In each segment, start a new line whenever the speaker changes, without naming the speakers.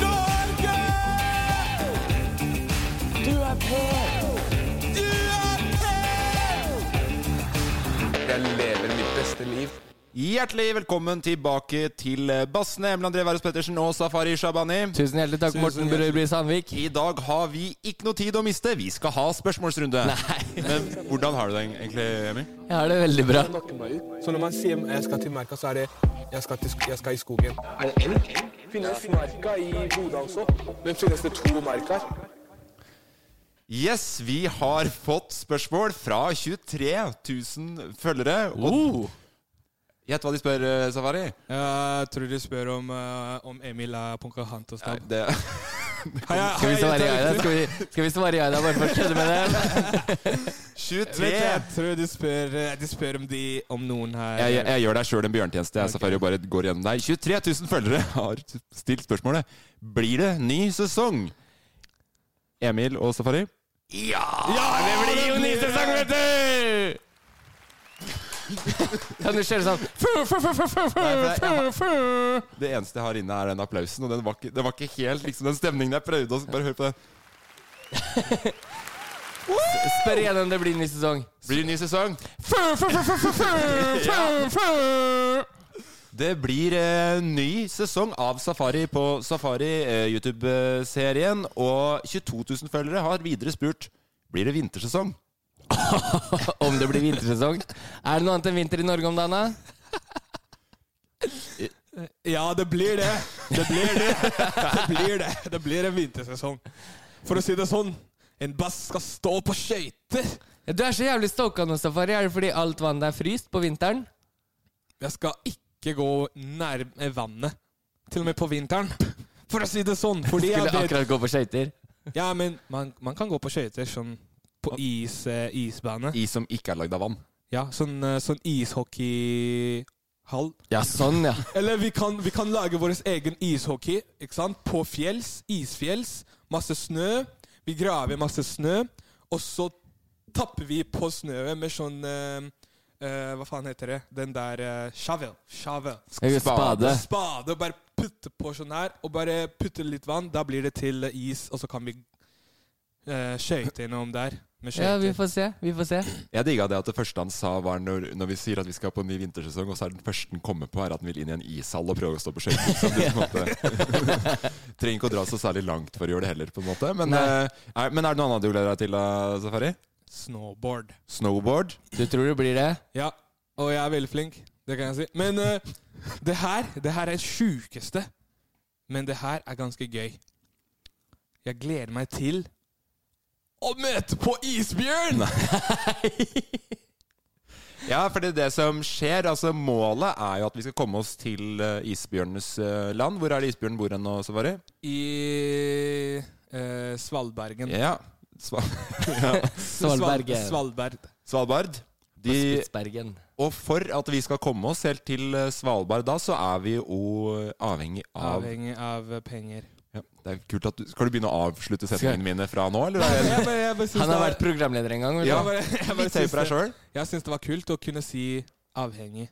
Norge! Du er på! Du er på!
Jeg lever mitt beste liv.
Hjertelig velkommen tilbake til Bassene, Emil André Wærhus Pettersen og Safari Shabani.
Tusen hjertelig takk, Morten Brødby Sandvik.
I dag har vi ikke noe tid å miste. Vi skal ha spørsmålsrunde. Men hvordan har du det egentlig, Emil?
Jeg har det veldig bra.
Snakker meg ut.
Så når man sier 'jeg skal til merka', så er det 'jeg skal, til, sk- jeg skal i skogen'.
Er det elg? Finnes merka i Bodø også? Men finnes det to merker?
Yes, vi har fått spørsmål fra 23 000 følgere. Og
Oh.
gjett hva de spør, eh, Safari.
Jeg tror de spør om, eh, om Emil er Pocahontas
Nei,
navn.
det,
Har jeg-
Skal
har
vi
jeg
svare ja i
gjettet
deg? Skal vi, skal vi svare ja i deg bare for å kødde med det?
23
riktig? Jeg tror de spør, eh, de spør om, de, om noen her
jeg, jeg, jeg gjør deg sjøl en bjørntjeneste. Jeg, Safari, og bare går gjennom deg. 23 000 følgere har stilt spørsmålet Blir det ny sesong. Emil og Safari? Ja! det blir jo ny sesong, vet du!
Kan du kjøre sånn fu, fu, fu, fu, fu,
Nei,
fu,
for
fu.
Det eneste jeg har inne, er den applausen. Og den var ikke, det var ikke helt liksom, den stemningen jeg prøvde å Bare hør på den.
Spør igjen om det blir ny sesong.
Blir det ny sesong?
Fu, fu, fu, fu, fu, fu, fu, fu.
Det blir eh, ny sesong av Safari på Safari eh, YouTube-serien. Og 22 000 følgere har videre spurt Blir det vintersesong.
Om det blir vintersesong. Er det noe annet enn vinter i Norge om dagen, da?
Ja, det blir det. Det blir det. Det blir det. Det blir en vintersesong. For å si det sånn, en bass skal stå på skøyter.
Du er så jævlig stoka nå, Safari. Er det fordi alt vannet er fryst på vinteren?
Jeg skal ikke gå nærme vannet, til og med på vinteren. For å si det sånn. Fordi jeg
Skulle
vet
akkurat gå på skøyter.
Ja, men man, man kan gå på skøyter sånn på is, eh, isbane.
Is som ikke er lagd av vann.
Ja, sånn, eh, sånn ishockeyhall.
Ja, sånn, ja.
Eller vi kan, vi kan lage vår egen ishockey, ikke sant? På fjells, isfjells, masse snø. Vi graver masse snø, og så tapper vi på snøet med sånn eh, eh, Hva faen heter det? Den der eh, shovel. Shovel.
Jeg vil spade.
Spade og bare putte på sånn her, og bare putte litt vann. Da blir det til is, og så kan vi eh, skøyte innom der med skøyter.
Ja, vi får se. Vi får se.
Jeg digga det at det første han sa, var når, når vi sier at vi skal på en ny vintersesong, og så er den første han kommer på, er at han vil inn i en ishall og prøve å stå på skøyter. Så det er på en måte- Trenger ikke å dra så særlig langt for å gjøre det heller, på en måte. Men,
Nei.
eh, er, men er det noe annet du gleder deg til, da, Safari?
Snowboard.
Snowboard?
Du tror det blir det?
Ja, og jeg er veldig flink. Det kan jeg si. Men eh, det her det her er det sjukeste. Men det her er ganske gøy. Jeg gleder meg til å møte på isbjørn!
Ja, for det, er det som skjer, altså målet er jo at vi skal komme oss til eh, isbjørnenes eh, land. Hvor er det isbjørnen bor hen nå, Safari?
I eh, Svalbergen.
Ja, Sva ja.
Sval-
Svalbergen.
Svalbard.
Svalbard. De
Spitsbergen.
Og for at vi skal komme oss helt til eh, Svalbard da, så er vi jo avhengig av
Avhengig av eh, penger.
ja, Det er kult at du Skal du begynne å avslutte setningene mine fra nå, eller?
Jeg, bare- jeg, bare synes
Han har
det var-
vært programleder en gang. vet du.
Ja,
jeg bare- jeg bare
Litt høy på deg
synes det-
sjøl?
Jeg syns det var kult å kunne si avhengig.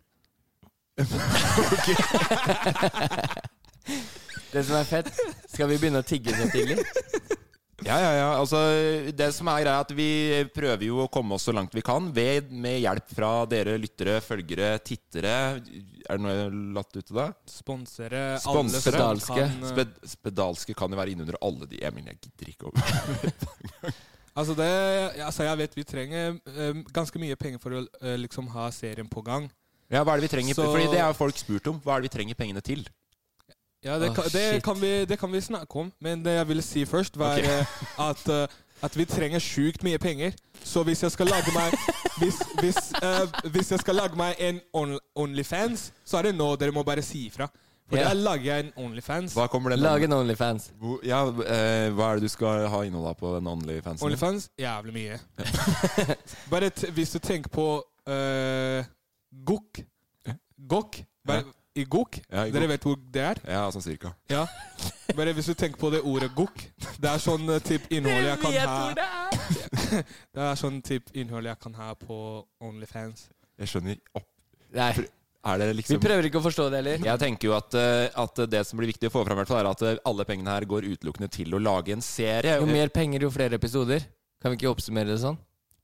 Det som er fett Skal vi begynne å tigge så tidlig?
Ja, ja, ja. Altså, det som er greia, er at vi prøver jo å komme oss så langt vi kan ved, med hjelp fra dere lyttere, følgere, tittere. Er det noe jeg har latt ut til deg?
Sponsere alle
Sponsere.
som kan eh,
Sped, spedalske kan jo være innunder alle de Emil, jeg gidder ikke å
Altså, det, altså jeg vet vi trenger eh, ganske mye penger for å eh, liksom ha serien på gang.
Ja, hva er det vi trenger?
Så-
Fordi det har folk spurt om. Hva er det vi trenger pengene til?
Ja, det,
Åh,
kan, det,
shit.
kan vi, det kan vi snakke om, men det jeg ville si først, var
Ok.
eh, at, eh, at vi trenger sjukt mye penger. Så hvis jeg skal lage meg Hvis, hvis, eh, hvis jeg skal lage meg en on, Onlyfans, så er det nå dere må bare si ifra. For
Ja.
der lager jeg en Onlyfans.
Hva kommer den
Lag en Onlyfans.
Hvor- Ja, eh, hva er det du skal ha innhold av på den Onlyfansen?
Onlyfans jævlig mye. Bare t hvis du tenker på uh, Gokk Gokk. Hva- I Gokk.
Ja, i
Dere
gokk.
vet hvor det er?
Ja, sånn cirka.
Ja. Bare hvis du tenker på det ordet gokk. Det er sånn eh, typ innhold jeg kan ha Det er sånn typ innhold jeg kan ha på Onlyfans.
Jeg skjønner opp.
Nei,
Er det liksom
vi prøver ikke å forstå det heller.
Jeg tenker jo at, eh, at det som blir viktig å få fram, i hvert fall er at eh, alle pengene her går utelukkende til å lage en serie.
Jo mer penger, jo flere episoder. Kan vi ikke oppsummere det sånn?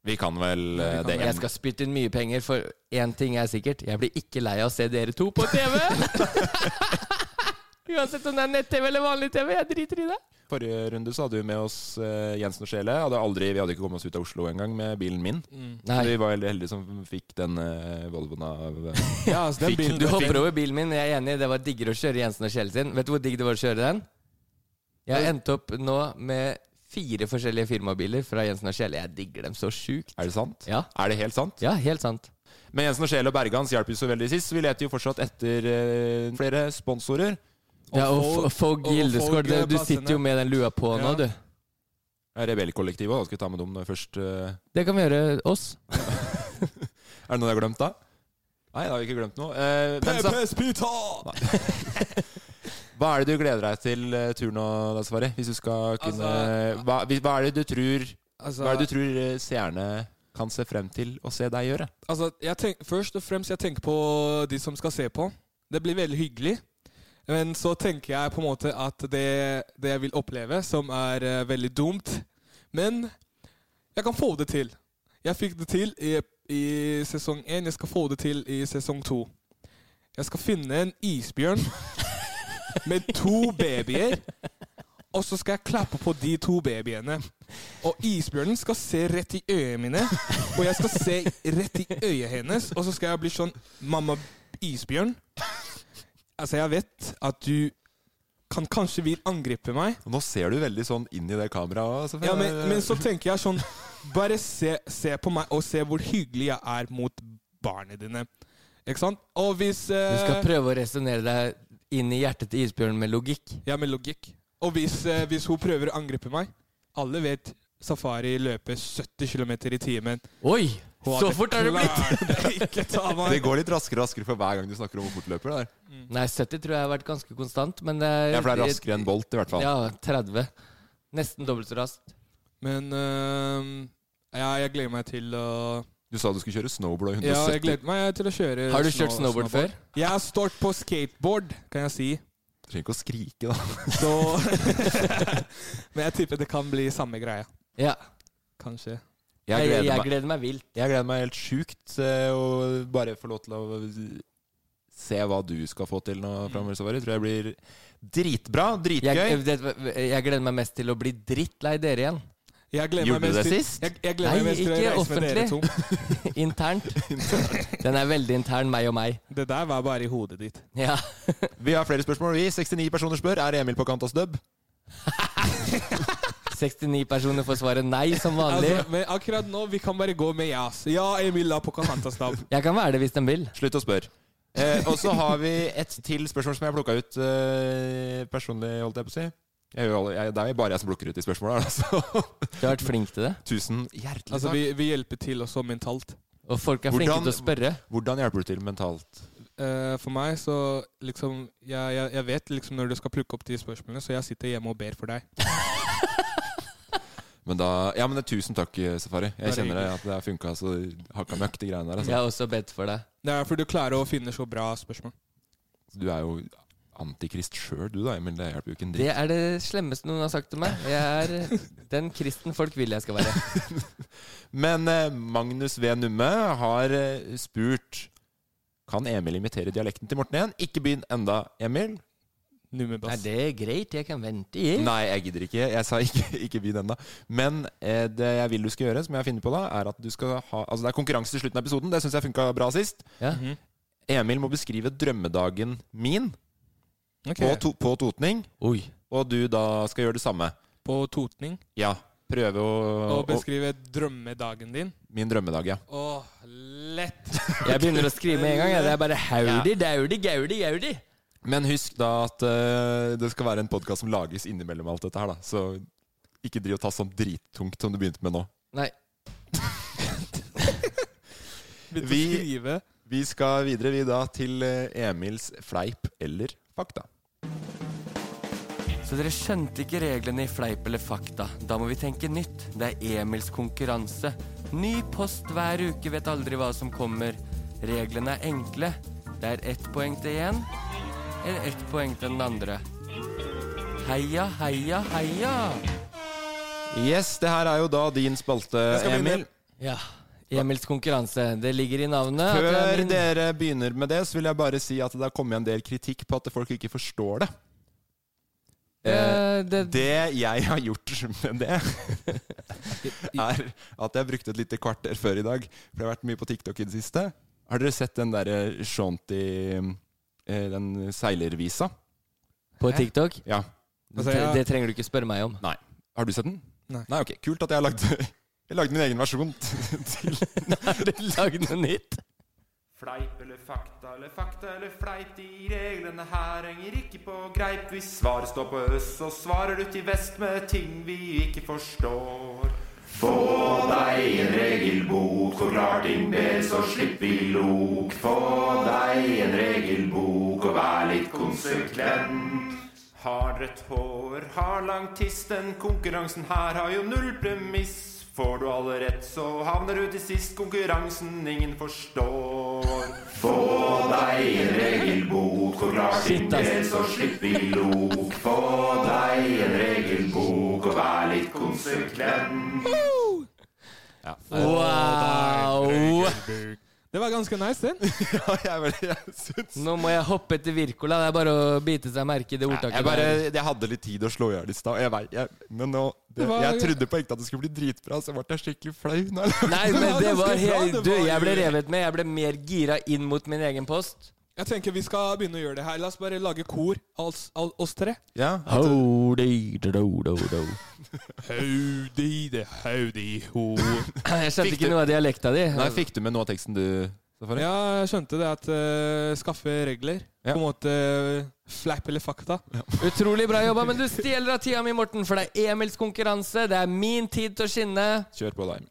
Vi kan vel eh, det
Jeg skal spytte inn mye penger, for én ting er sikkert. Jeg blir ikke lei av å se dere to på TV! Uansett om det er nett-TV eller vanlig TV. Jeg driter i det.
Forrige runde så hadde vi med oss eh, Jensen og Sjele. Hadde aldri, vi hadde ikke kommet oss ut av Oslo engang med bilen min.
Nei.
Så vi var veldig heldige som fikk den eh, Volvoen av eh,
Ja, altså den
Fikk-
bilen
Du hopper over bilen min. Jeg er enig, det var diggere å kjøre Jensen og Kjell sin. Vet du hvor digg det var å kjøre den? Jeg har endt opp nå med fire forskjellige firmabiler fra Jensen og Kjell. Jeg digger dem så sjukt.
Er det sant?
Ja.
Er det helt sant?
Ja, helt sant.
Men Jensen og Sjele og Bergans hjelper jo så veldig sist. Vi leter jo fortsatt etter eh, flere sponsorer.
Ja, og
folk-
f- Fogg
og
Gildeskål.
folk,
det-
eh,
Du sitter jo med den lua på nå,
Ja.
du.
Rebellkollektivet. Da skal vi ta med dem når først eh,
Det kan vi gjøre oss.
Er det noe jeg har glemt, da? Nei, da har vi ikke glemt noe. Eh, men så,
PPS Pyton!
hva er det du gleder deg til eh, tur nå, da, Safari? Hvis du skal kunne
Altså-
hva, hvis, hva er det du tror
Altså,
Hva er det du tror eh, seerne kan se frem til å se deg gjøre?
altså jeg tenk, først og fremst jeg tenker på de som skal se på. Det blir veldig hyggelig. Men så tenker jeg på en måte at det, det jeg vil oppleve, som er eh, veldig dumt Men jeg kan få det til. Jeg fikk det til i, i sesong én. Jeg skal få det til i sesong to. Jeg skal finne en isbjørn med to babyer. Og så skal jeg klappe på de to babyene. Og isbjørnen skal se rett i øyet mine. Og jeg skal se rett i øyet hennes. Og så skal jeg bli sånn Mamma isbjørn. Altså, jeg vet at du kan kanskje vil angripe meg.
Nå ser du veldig sånn inn i det kameraet. Safari.
Ja, men, men så tenker jeg sånn Bare se, se på meg og se hvor hyggelig jeg er mot barna dine. Ikke sant? Og hvis
Du
eh,
skal prøve å resonnere deg inn i hjertet til isbjørnen med logikk.
Ja, med logikk. Og hvis, eh, hvis hun prøver å angripe meg Alle vet safari løper 70 km i timen.
Oi!
Hun
Så
hadde
fort er det blitt!
klart Ikke ta meg.
Det går litt raskere og raskere for hver gang du snakker om hvor fort du løper. Der.
Nei, 70 tror jeg har vært ganske konstant, men det er
Ja, for det er raskere enn Bolt, i hvert fall.
Ja, 30. Nesten dobbelt så raskt.
Men eh, ja, jeg gleder meg til å
Du sa du skulle kjøre snowboard og 170.
Ja, jeg gleder meg til å kjøre
Har du
snow-
kjørt snowboard før?
Jeg har stått på skateboard, kan jeg si.
Du trenger ikke å skrike, da.
Så Men jeg tipper det kan bli samme greia.
Ja.
Kanskje.
Jeg, jeg,
meg-
gleder meg vilt.
Jeg gleder meg helt sjukt eh, å bare få lov til å se hva du skal få til nå framover. Safari. Tror jeg blir dritbra, dritgøy.
Jeg, eh, vet du hva, jeg gleder meg mest til å bli drittlei dere igjen.
Jeg gleder
Gjorde
meg
du
mest
det
til-
sist?
Jeg, jeg gleder meg
Nei,
mest til å
ikke
reise med dere to.
Internt. Den er veldig intern, meg og meg.
Det der var bare i hodet ditt.
Ja.
Vi har flere spørsmål. vi. 69 personer spør er Emil på kant av stubb.
69 personer får svaret nei, som vanlig.
Altså, men akkurat nå, vi kan bare gå med ja. ass. Ja, Emil la på Kahantastav.
Jeg kan være det hvis de vil.
Slutt å spørre. Eh, og så har vi et til spørsmål som jeg plukka ut eh, personlig, holdt jeg på å si. Jeg, gjør alle- jeg, det er jo bare jeg som plukker ut de spørsmåla. Altså.
Du har vært flink til det.
Tusen hjertelig
Altså,
takk.
vi, vi hjelper til også mentalt.
Og folk er flinke
Hvordan-
til å spørre.
Hvordan hjelper du til mentalt?
Eh, for meg så liksom jeg, jeg, jeg vet liksom når du skal plukke opp de spørsmålene, så jeg sitter hjemme og ber for deg.
Men da, ja, men det er tusen takk, eh, Safari. Jeg
Bare
kjenner det at det har funka så hakka møkk, de greiene der.
Jeg
Altså.
har også bedt for deg.
Det er fordi du klarer å finne så bra spørsmål.
Du er jo antikrist sjøl, du da, Emil. Det hjelper jo ikke en
Det
dritt.
er det slemmeste noen har sagt til meg. Jeg er eh, den kristen folk vil jeg skal være.
Men eh, Magnus V. Numme har eh, spurt Kan Emil imitere dialekten til Morten igjen? Ikke begynn enda, Emil.
Er
Nummebass.
det greit? Jeg kan vente i.
Nei, jeg gidder ikke. Jeg sa ikke, ikke begynn ennå. Men eh, det jeg vil du skal gjøre, som jeg har funnet på da, er at du skal ha Altså, det er konkurranse til slutten av episoden. Det syns jeg funka bra sist.
Ja.
Mhm.
Emil må beskrive drømmedagen min
Ok,
på, to, på Totning,
Oi.
og du da skal gjøre det samme.
På totning.
Ja. Prøve å,
Og
å
beskrive drømmedagen din.
Min drømmedag, ja.
Åh, lett!
Jeg begynner å skrive med en gang. jeg. Det er bare howdy, dowdy, gaudi, gaudi.
Men husk da at eh, det skal være en podkast som lages innimellom alt dette her, da. Så ikke driv og ta sånn drittungt som du begynte med nå.
Nei.
Begynte å
Vi-
skrive.
Vi skal videre vi da til eh, Emils fleip eller fakta.
Så dere skjønte ikke reglene i fleip eller fakta. Da må vi tenke nytt. Det er Emils konkurranse. Ny post hver uke, vet aldri hva som kommer. Reglene er enkle. Det er ett poeng til én, eller ett poeng til den andre. Heia, heia, heia.
Yes, det her er jo da din spalte,
skal begynne.
Emil.
Ja. Emils konkurranse. Det ligger i navnet. at det er
Før
min-
dere begynner med det, så vil jeg bare si at det har kommet en del kritikk på at folk ikke forstår det. Eh,
Eh, det,
Det jeg har gjort med det, er at jeg brukte et lite kvarter før i dag. For jeg har vært mye på TikTok i det siste. Har dere sett den derre Shanti eh, Den seilervisa?
på TikTok?
Ja.
Altså,
det,
jeg-
det trenger du ikke spørre meg om.
Nei. Har du sett den?
Nei.
Nei, ok. Kult at jeg har lagd jeg lagde min egen versjon til
Har du lagd noe nytt?
Fleip eller fakta eller fakta eller fleip, de reglene her henger ikke på greip. Hvis svaret står på øst, så svarer du til vest med ting vi ikke forstår. Få deg en regelbok, forklar ting bedre, så slipper vi lok. Få deg en regelbok, og vær litt konsekvent. Har rødt hår, har lang tiss, den konkurransen her har jo null premiss. Får du alle rett, så havner du til sist. Konkurransen ingen forstår. Få deg en regelbok, forklar ting
Shit, ass.
det, så slipp vi lok. Få deg en regelbok, og vær litt konsekvent.
Eh,
Wow!
Det var ganske nice, den.
Ja, jeg, bare- jeg syns
Nå må jeg hoppe etter Wirkola. Det er bare å bite seg merke i det ordtaket.
jeg, bare,
der.
jeg hadde litt tid å slå i hjel i stad. og jeg vet- jeg- Men nå det,
Det var-
Jeg trodde på ekte at det skulle bli dritbra, så ble jeg skikkelig flau. når jeg lagde
Nei,
den.
men det var
ganske bra,
helt
det
Du,
var-
jeg ble revet med. Jeg ble mer gira inn mot min egen post.
Jeg tenker vi skal begynne å gjøre det her. La oss bare lage kor, oss, all- oss tre.
Ja, at-
Howdy, det howdy ho.
Jeg skjønte
Fikk
ikke
du-
noe av dialekta di.
Nei, fikk du med noe av teksten du, Safari?
Ja, jeg skjønte det at eh, skaffe regler.
Ja.
På en måte eh, fleip eller fakta.
Utrolig bra jobba, men du stjeler av tida mi, Morten. For det er Emils konkurranse. Det er min tid til å skinne.
Kjør på, da. Emil.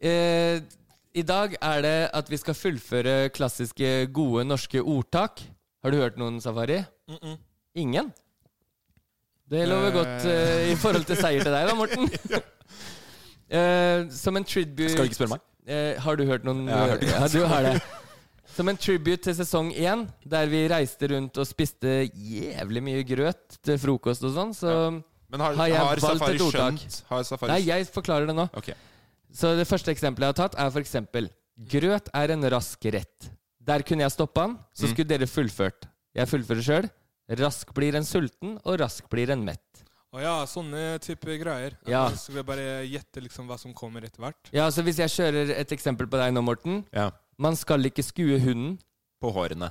Eh, I dag er det at vi skal fullføre klassiske, gode norske ordtak. Har du hørt noen, Safari? Ingen? Det lover godt eh, i forhold til seier til deg, da, Morten. Eh, som en tribute
Skal du ikke spørre meg?
Eh, har du hørt noen
Jeg har hørt det.
Ja, du har det. Som en tribute til sesong én, der vi reiste rundt og spiste jævlig mye grøt til frokost og sånn, så
Men har,
Har
har,
jeg valgt
Safari
et ordtak?
skjønt? Har Safari
Nei, jeg forklarer det nå.
Ok.
Så det første eksempelet jeg har tatt, er for eksempel Grøt er en rask rett. Der kunne jeg stoppa den, så skulle dere fullført. Jeg fullfører sjøl. Rask blir en sulten, og rask blir en mett.
Å ja, sånne type greier.
Ja.
Så skal vi bare gjette liksom hva som kommer etter hvert.
Ja, så Hvis jeg kjører et eksempel på deg nå, Morten
Ja.
Man skal ikke skue hunden.
På hårene.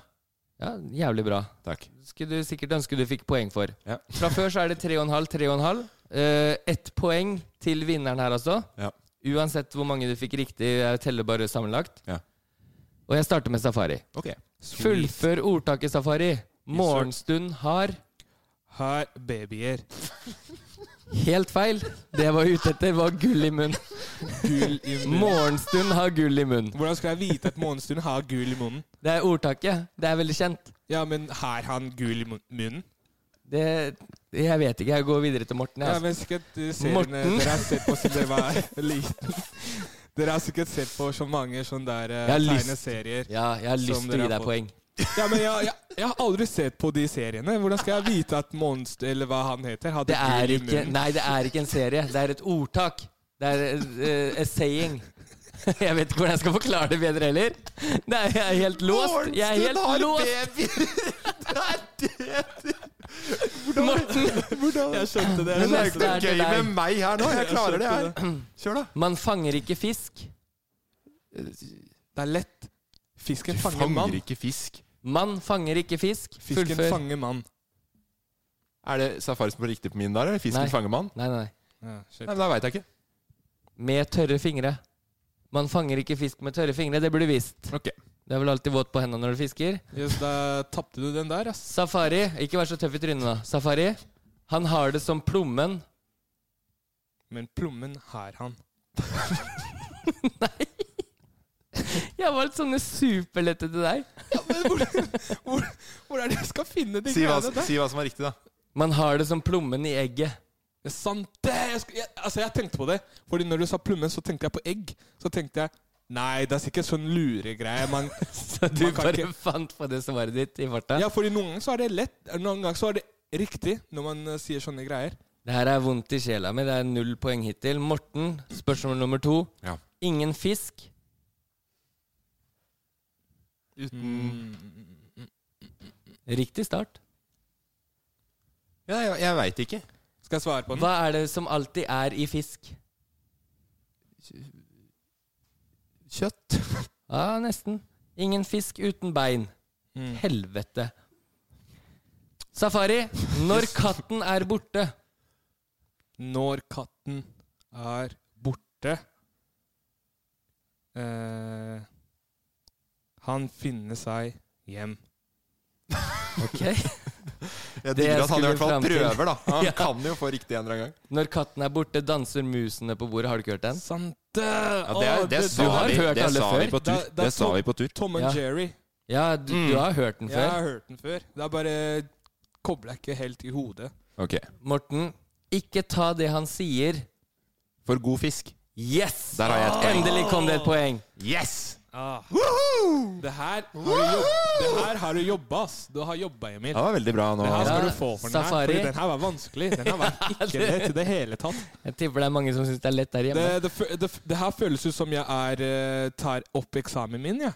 Ja, Jævlig bra.
Takk.
Skulle du sikkert ønske du fikk poeng for.
Ja.
Fra før så er det 3,5, 3,5. Eh, Ett poeng til vinneren her, altså.
Ja.
Uansett hvor mange du fikk riktig. Jeg teller bare sammenlagt.
Ja.
Og jeg starter med safari.
Ok.
Fullfør ordtaket safari. Morgenstund har
Her, babyer.
Helt feil. Det jeg var ute etter, var gull i munn.
Gull i munnen.
Morgenstund har gull i munn.
Hvordan skal jeg vite at morgenstund har gull i munnen?
Det er ordtaket. Det er veldig kjent.
Ja, men har han gull i mun- munnen?
Det, jeg vet ikke. Jeg går videre til Morten.
Ja,
Jeg, altså.
men sikkert eh, seriene
Morten.
dere har sett på siden dere var liten. Dere har sikkert sett på så mange sånne der eh,
Jeg har lyst.
tegneserier.
altså. ja, jeg har lyst
Som
til å
dere
gi
har
deg poeng.
Ja, men jeg, jeg, jeg har aldri sett på de seriene. Hvordan skal jeg vite at Monster, eller hva han heter, hadde
Det er
gull i
ikke,
munnen?
nei, det er ikke en serie. Det er et ordtak. Det er eh, a saying. Jeg vet ikke hvordan jeg skal forklare det bedre heller. Nei, jeg er helt låst. Jeg er helt låst. Morten,
Jeg skjønte det.
det neste er til deg.
meg her nå. Jeg klarer det her. Kjør, da.
Man fanger ikke fisk.
Det er lett. Fisken fanger
Fanger
mann.
ikke fisk.
Man fanger ikke fisk.
Fisken
Fullfør.
fanger mann.
Er det safari som er riktig på min der? Eller? Fisken
Nei.
fanger mann?
Nei, nei, nei.
Ja,
Nei, men Da veit jeg ikke.
Med tørre fingre. Man fanger ikke fisk med tørre fingre. Det burde du visst.
Ok.
Det er vel alltid våt på hendene når du fisker.
yes, da tapte du den der, ass.
Safari, ikke vær så tøff i trynet, da. Safari, han har det som plommen.
Men plommen har han.
Jeg har valgt sånne superlette til deg.
Hvor er det jeg skal finne de
Si hva,
greiene der?
si hva som er riktig, da.
Man har det som plommen i egget.
Det er sant det! Jeg, skal, jeg, altså, jeg tenkte på det. Fordi når du sa plommen, så tenkte jeg på egg. Så tenkte jeg Nei, det er sikkert sånn luregreie. Man,
Så du
man kan
bare
ikke-
fant på det svaret ditt i farta.
Ja, fordi noen ganger så er det lett. Noen ganger så er det riktig når man eh, sier sånne greier.
Det her er vondt i sjela mi. Det er null poeng hittil. Morten, spørsmål nummer to.
Ja.
Ingen fisk. Riktig start.
Ja, jeg jeg veit ikke.
Skal jeg svare på den?
Hva er det som alltid er i fisk?
Kjøtt.
Ja, nesten. Ingen fisk uten bein.
Mm.
Mm. Helvete. Safari, når katten er borte
Når katten er borte eh, Han finner seg hjem.
Ok.
Jeg
Det
digger at han i
skulle
hvert fall
fram til.
prøver, da. Han
Ja.
kan jo få riktig en eller annen gang.
Når katten er borte, danser musene på bordet. Har du ikke hørt den?
Sant
Ja, det, er-
Å,
det,
du
sa
har
vi,
hørt
det
alle
sa vi
før.
på tur.
Da- da
det sa
to-
vi på tur.
Tom og
Ja.
Jerry.
Mm. Ja, du, du har hørt den
Jeg har
før.
hørt den før. Det er bare kobler jeg ikke helt i hodet.
Ok.
Morten, ikke ta det han sier.
For god fisk.
Yes!
Der har jeg et poeng.
Ah, Endelig kom det et poeng.
Yes!
Det her har du, jobb, det her har du jobba, ass. Du har jobba, Emil.
Det var veldig bra nå.
Det her skal
Ja,
du få for den her.
Safari.
Fordi den her var vanskelig. Den her var ikke lett i det hele tatt.
Jeg tipper det er mange som syns det er lett der
Det,
hjemme.
det, fø- det, f- det her føles ut som jeg er, eh, tar opp eksamen min, jeg.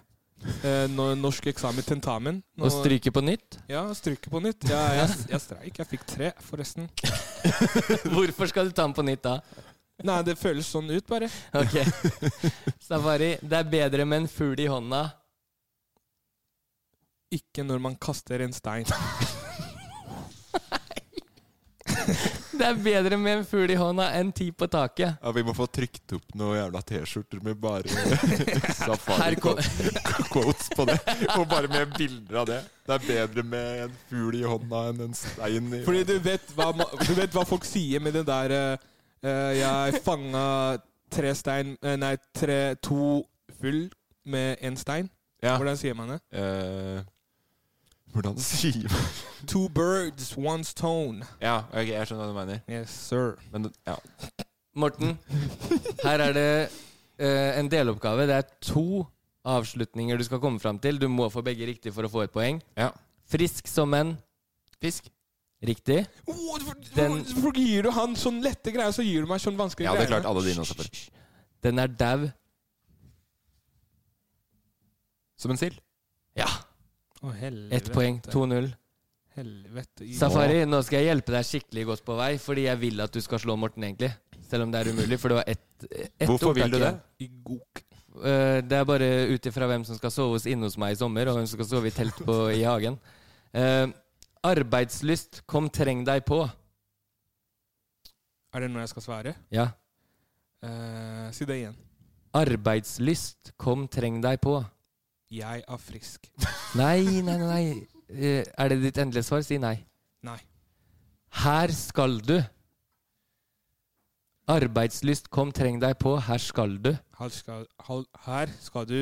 Eh, nå- norsk eksamen, tentamen. Nå-
Å stryke på nytt?
Ja, stryke på nytt. Ja, jeg, jeg streik. Jeg fikk tre, forresten.
Hvorfor skal du ta den på nytt da?
Nei, det føles sånn ut, bare.
Ok. Safari, det er bedre med en fugl i hånda.
Ikke når man kaster en stein.
Det er bedre med en fugl i hånda enn ti på taket.
Ja, Vi må få trykt opp noen jævla T-skjorter med bare
Her kom-
safari-quotes på det. Og bare med bilder av det. Det er bedre med en fugl i hånda enn en stein i
Fordi du vet hva, ma- du vet hva folk sier med den der eh, eh, Jeg fanga tre stein eh, Nei, tre, to full med en stein.
Ja.
Hvordan sier man det?
Eh, Hvordan sier man
Two birds, one stone.
Ja, ok, jeg skjønner hva du mener.
Yes, sir.
Men ja.
Morten, her er det eh, en deloppgave. Det er to avslutninger du skal komme fram til. Du må få begge riktig for å få et poeng.
ja.
Frisk som en
Fisk.
Riktig.
Hvorfor
Den-
hvorfor gir du han sånn lette greier, så gir du meg sånn vanskelige
Jeg hadde
greier?
klart alle dine også. før.
Den er dau.
Som en sild.
Ja.
Å, helvete.
Ett poeng. 2-0.
Helvete. i-
Safari, nå skal jeg hjelpe deg skikkelig godt på vei, fordi jeg vil at du skal slå Morten, egentlig. Selv om det er umulig, for det var ett eh, ett
Hvorfor vil
opptak
du det?
igjen.
I gok.
Eh, Det er bare ut ifra hvem som skal sove hos inne hos meg i sommer, og hvem som skal sove i telt på, i hagen. Eh, arbeidslyst, kom treng deg på.
Er det noe jeg skal svare?
Ja.
Eh, si det igjen.
Arbeidslyst, kom treng deg på.
Jeg er frisk.
Nei, nei, nei. nei. Eh, Er det ditt endelige svar? Si nei.
Nei.
Her skal du. Arbeidslyst, kom, treng deg på, her skal du.
Her skal, hal- her skal du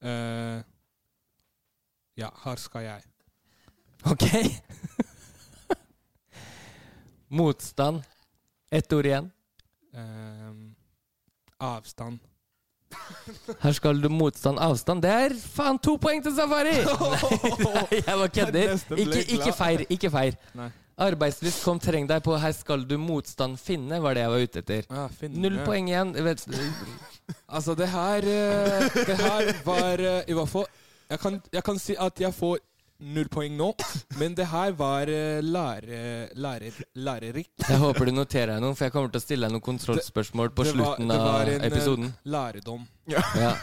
eh, Ja, her skal jeg.
Ok? Motstand. Ett ord igjen.
Ehm, avstand.
Her skal du motstand, avstand. Det er faen to poeng til Safari! Nei, jeg bare kødder.
Neste ble
Ikke, ikke
glad.
feir. Ikke feir.
Nei.
Arbeidslyst, kom, treng deg på, her skal du motstand finne, var det jeg var ute etter.
Ah, finne.
Null poeng igjen. Jeg Vet,
Altså, det her eh, Det her var eh, I hvert fall jeg kan, jeg kan si at jeg får null poeng nå, men det her var eh, lære, lærer, lærerikt.
jeg håper du noterer deg noen, for jeg kommer til å stille deg noen kontrollspørsmål på
Det var-
slutten
det var
av
en, eh,
episoden.
Læredom.
Ja.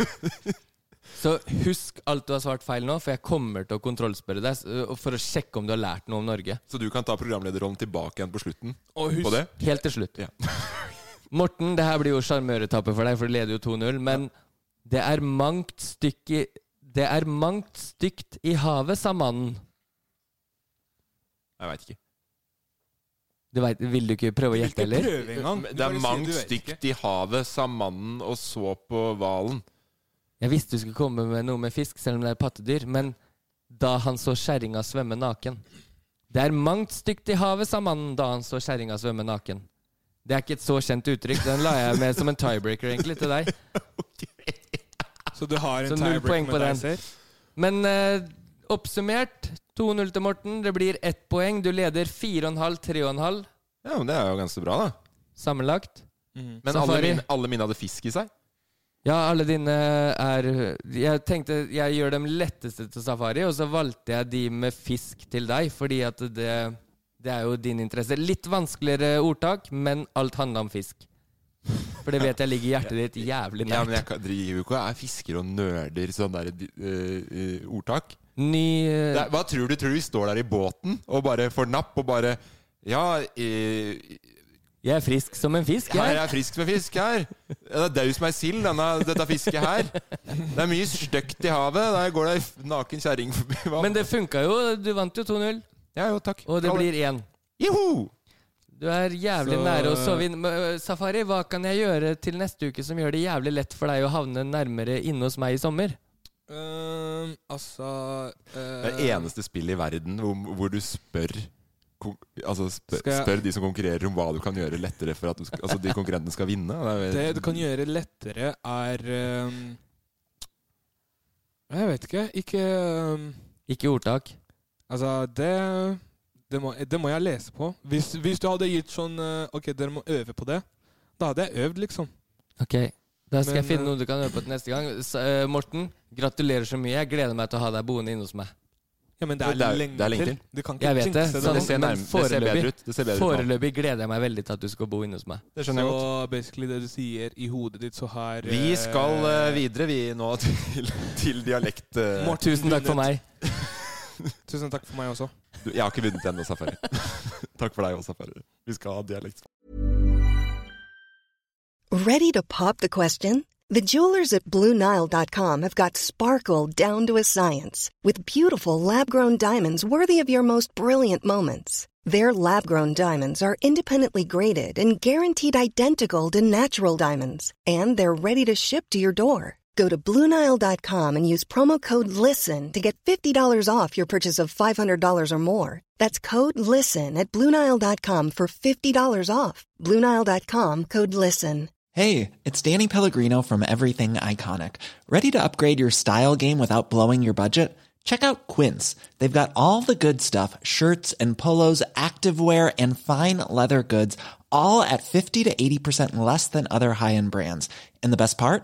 Så husk alt du har svart feil nå, for jeg kommer til å kontrollspørre deg s- og for å sjekke om du har lært noe om Norge.
Så du kan ta programlederrollen tilbake igjen på slutten
Og husk
på det?
Helt til slutt.
Ja.
Morten, det her blir jo sjarmøretappe for deg, for du leder jo 2-0, men det er mangt stykk i Det er mangt stygt i havet, sa mannen.
Jeg veit ikke.
Du vet, vil du ikke prøve å gjette, eller?
Prøv en gang.
Men
Du
Det
bare
er
sier
mangt
du vet ikke.
stygt i havet, sa mannen og så på hvalen.
Jeg visste du skulle komme med noe med fisk, selv om det er pattedyr, men da han så kjerringa svømme naken. Det er mangt stygt i havet, sa mannen da han så kjerringa svømme naken. Det er ikke et så kjent uttrykk. Den la jeg med som en tiebreaker, egentlig, til deg.
Så du har en
Så null poeng
tiebreak
på
med deg
den.
selv?
Men eh, oppsummert 2-0 til Morten. Det blir ett poeng. Du leder 4,5-3,5
Ja, men Det er jo ganske bra, da.
sammenlagt. Mm.
Men alle
Safari.
mine, alle mine hadde fisk i seg.
Ja, alle dine er Jeg tenkte jeg gjør dem letteste til safari, og så valgte jeg de med fisk til deg, fordi at det, det er jo din interesse. Litt vanskeligere ordtak, men alt handla om fisk. For det vet jeg ligger hjertet ditt jævlig
Ja, men
nært.
jeg kan- driver jo ikke og er fisker og nerder sånn der eh, eh, ordtak.
Ny eh,
Det er- hva tror du? Tror du vi står der i båten og bare får napp og bare Ja, eh,
Jeg er frisk som en fisk,
her
jeg.
er frisk med fisk her. Ja, Det er daus meg sild, denne- dette fisket her. Det er mye støkt i havet. Der går det ei f- naken kjerring forbi. Hva?
Men det funka jo. Du vant jo 2-0,
ja, jo, takk.
og det
Ha
blir én.
Joho!
Du er jævlig
Så-
nære å sove inn. Men, øh, Safari, hva kan jeg gjøre til neste uke som gjør det jævlig lett for deg å havne nærmere inne hos meg i sommer?
Ehm, altså eh,
Det er det eneste spillet i verden hvor, hvor du spør kon- Altså spør,
Skal jeg-
spør de som konkurrerer om hva du kan gjøre lettere for at du skal, altså de konkurrentene skal vinne. Det
Det
er,
du kan gjøre lettere, er ehm, Jeg vet ikke. Ikke ehm,
Ikke ordtak.
Altså, det det må, det må jeg lese på. Hvis, hvis du hadde gitt sånn eh, Ok, dere må øve på det. Da hadde jeg øvd, liksom.
Ok, Da
Men,
skal jeg
øh,
finne noe du kan øve på til neste gang. S øh, Morten, gratulerer så mye. Jeg gleder meg til å ha deg boende inne hos meg.
Ja, men det
Det
er,
er-
lenge,
det er lenge
til.
til.
Du kan ikke
Jeg vet det,
jinxe
sant,
det ser
men
nærm- det ser bedre
foreløpig,
ut. Det ser bedre ut nå.
foreløpig gleder jeg meg veldig til at du skal bo inne hos meg.
det
Så
skjønner jeg godt.
basically det du sier i hodet ditt, så har
Vi
eh,
skal eh, videre vi nå til, til dialekt... eh,
Morten
Tusen takk for
vunnet.
meg.
Tusen takk for meg også.
du, jeg har ikke vunnet ennå, Safari. Takk for deg også, Safari. Vi skal ha dialekt.
Ready to pop the question? The jewelers at BlueNile.com have got sparkle down to a science with beautiful lab grown diamonds worthy of your most brilliant moments. Their lab grown diamonds are independently graded and guaranteed identical to natural diamonds, and they're ready to ship to your door. Go to BlueNile.com and use promo code LISTEN to get $50 off your purchase of $500 or more. That's code LISTEN at BlueNile.com for $50 off. BlueNile.com code LISTEN.
Hey, it's Danny Pellegrino from Everything Iconic. Ready to upgrade your style game without blowing your budget? Check out Quince. They've got all the good stuff shirts and polos, activewear, and fine leather goods, all at 50 to 80% less than other high end brands. And the best part?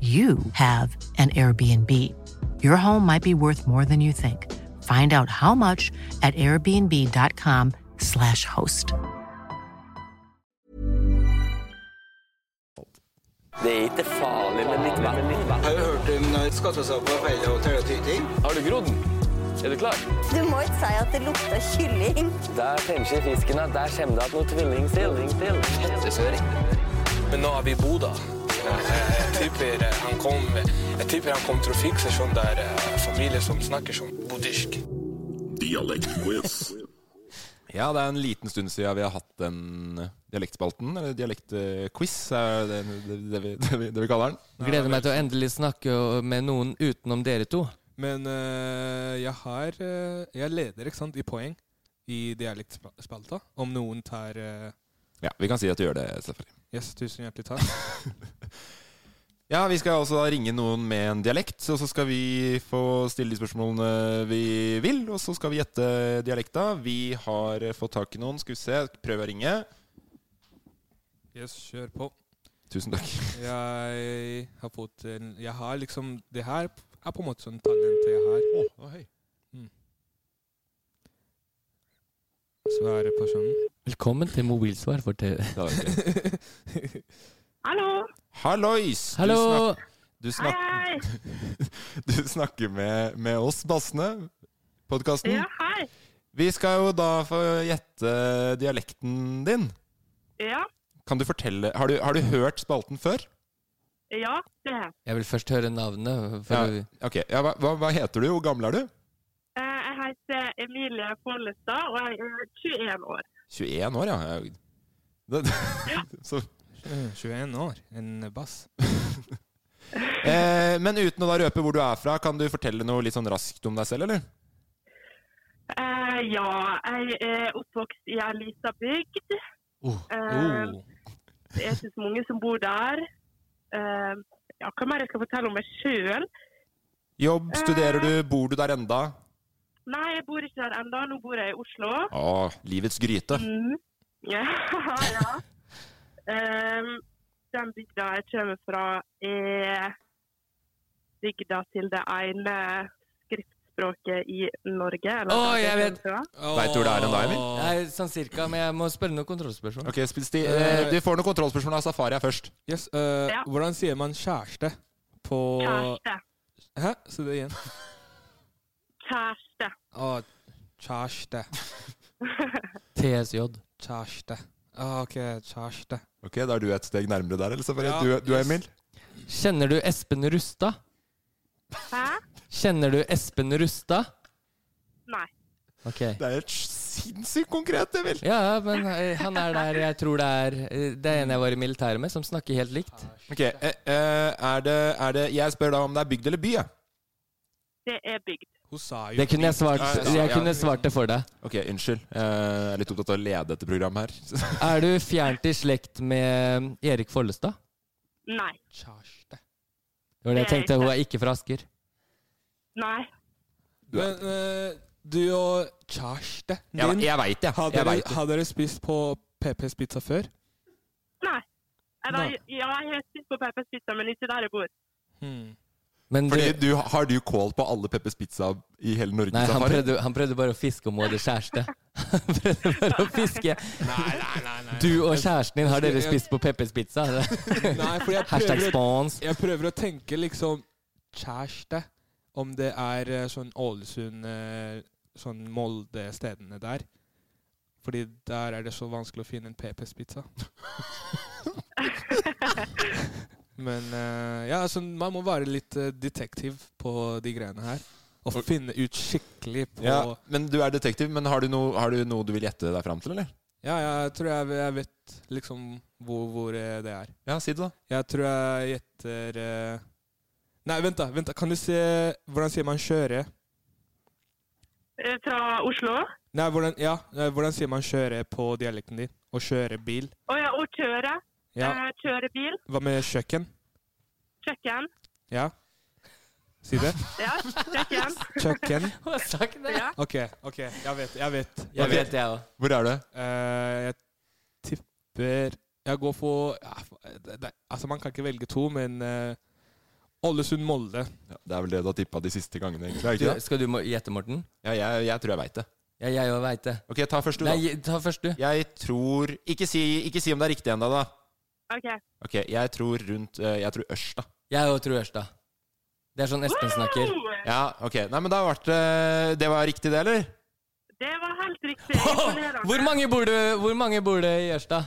you have an Airbnb. Your home might be worth more than you think. Find out how much at airbnb.com/slash host.
Det er ikke farlig, men litt verre.
Har du hørt om eh, skattesag på feil hotell og tyting?
Har du grodd den? Er du klar?
Du må ikke si at det lukter kylling.
Der fremskjer fisken at der kommer det at noe tvilling til.
Men nå er vi i Bodø. Jeg tipper eh, han kom Jeg tipper han kom til å fikse sånn der eh, familie som snakker sånn buddhisk.
Dialektquiz. Ja, det er en liten stund siden vi har hatt den eh, dialektspalten, eller dialektquiz, er det det, det, vi, det, vi, det vi kaller den.
Gleder meg til å endelig snakke med noen utenom dere to.
Men eh, jeg har eh, Jeg leder, ikke sant, i poeng i dialektspalta. Om noen tar eh,
Ja, vi kan si at du gjør det, Steffen.
Yes, tusen hjertelig takk.
Ja, vi skal også da ringe noen med en dialekt, og så skal vi få stille de spørsmålene vi vil, og så skal vi gjette dialekta. Vi har eh, fått tak i noen, skal vi se, prøv å ringe.
Yes, kjør på.
Tusen takk.
Jeg har fått en Jeg har liksom Det her er på en måte sånn talentet jeg har.
Å, hei.
Svære personen.
Velkommen til Mobilsvar for TV.
Da var det greit.
Hallo.
Hallois! Du
Hallo!
snak- Du, snak du snakker med, med oss, Bassene, podkasten.
Ja, hei.
Vi skal jo da få gjette dialekten din.
Ja,
Kan du fortelle, har du, har du hørt spalten før?
ja, det er jeg.
Jeg vil først høre navnet. For
Ja,
å-
ok. Ja, hva, hva- hva heter du? Hvor gammel er du?
Eh, Jeg heter Emilie Follestad, og jeg er 21 år.
21 år, ja. Jeg- Det, så,
Eh, 21 år. En bass.
eh, men uten å da røpe hvor du er fra, kan du fortelle noe litt sånn raskt om deg selv, eller?
Eh, Ja, jeg er oppvokst i ei lita bygd. Eh,
Oh.
Det er ikke så mange som bor der. Eh, Ja, hva mer jeg skal fortelle om meg sjøl?
Jobb, studerer
eh.
du, bor du der enda?
Nei, jeg bor ikke der ennå. Nå bor jeg i Oslo.
Å, livets gryte.
Mm. Ja, ja. Um, den bygda jeg kommer fra, er bygda til det ene skriftspråket i Norge. eller
Å,
hva det
jeg
heter,
vet.
tror jeg.
Vet du hvor det er enn da, Emil?
Nei, sånn cirka, men jeg må spørre noen kontrollspørsmål.
Ok, sp- sti, eh, Du får noen kontrollspørsmål av Safari her først.
Yes, eh,
Ja.
Hvordan sier man kjæreste på
Kjæreste.
Hæ? Så det igjen.
Kjæreste.
Å, kjæreste.
TSJ.
Kjæreste. Ah, OK, kjæreste.
Ok, Da er du et steg nærmere der, eller, Safari?
Ja,
du, du er
yes.
Emil?
Kjenner du Espen Rustad?
Hæ?
Kjenner du Espen Rustad?
Nei.
Ok.
Det er helt sinnssykt konkret, Emil!
Ja, ja, men eh, han er der jeg tror det er eh, Det er en jeg var i militæret med, som snakker helt likt.
Ok, eh, eh, er det, er det, Jeg spør da om det er bygd eller by, jeg.
Det er bygd.
Hun sa jo
Det kunne jeg svart,
Ja, ja, ja.
jeg kunne svart det for deg.
Ok, unnskyld. Eh, Jeg er litt opptatt av å lede dette programmet her.
Er du fjernt i slekt med Erik Follestad?
Nei.
kjæreste.
Det var det jeg
Det er
tenkte.
ikke.
Hun er ikke fra Asker.
Nei.
Men eh, du og kjæresten
Jeg,
din
jeg veit det.
har,
Jeg
dere,
vet det.
har dere spist på PPs Pizza før?
Nei. Eller,
Nei.
ja, jeg har spist på Peppers Pizza, men ikke der jeg bor.
Hmm.
Men du,
Fordi du, har du kål på alle Peppers Pizza i hele Norge?
nei, han
Safari?
prøvde, han prøvde bare å fiske om hun hadde kjæreste. Han prøvde bare å fiske.
Nei, nei, nei. nei.
Du og kjæresten din, har dere spist på Peppers Pizza?
nei for jeg
Hashtag
prøver, å,
spons.
jeg prøver å tenke liksom kjæreste. Om det er eh, sånn Ålesund, eh, sånn Molde-stedene der. Fordi der er det så vanskelig å finne en PP-spizza. Men eh, ja, altså, man må være litt eh, detektiv på de greiene her. Og finne ut skikkelig på ja.
Ja, men du er detektiv, men har du, noe- har du noe du vil gjette deg fram til, eller?
jeg tror jeg, jeg vet liksom hvor, hvor eh, det er.
Ja, si det, da.
Jeg tror jeg gjetter eh, Nei, vent, da. vent da. Kan du se Hvordan sier man 'kjøre'?
Eh, Fra Oslo?
Nei, hvordan, ja, eh, hvordan sier man 'kjøre' på dialekten din? Å kjøre bil?
Å ja, og kjøre.
Ja.
Eh, Kjøre bil.
Hva med kjøkken?
Kjøkken.
Ja? Si det.
Ja, kjøkken.
Kjøkken.
Ja.
OK, ok, jeg vet. Jeg vet,
Jeg
Ok.
vet, jeg også. Hvor er det?
Eh, jeg tipper Jeg går for ja, det, det, Altså, man kan ikke velge to, men eh, Ålesund-Molde.
Det er vel det du har tippa de siste gangene, egentlig. er det Ikke det?
Skal du må- gjette, Morten?
Ja, jeg, jeg tror jeg veit det.
Ja, jeg òg veit det.
Ok, ta først du, da.
Nei, ta først du.
Jeg tror Ikke si, ikke si om det er riktig ennå, da.
OK.
Ok, jeg tror rundt eh, Jeg tror Ørsta.
Jeg òg tror Ørsta. Det er sånn Espen snakker.
Ja, ok. Nei, men da ble det Det var riktig, det, eller?
Det var helt riktig. Imponerende.
Hvor mange bor, du, hvor mange bor det i Ørsta?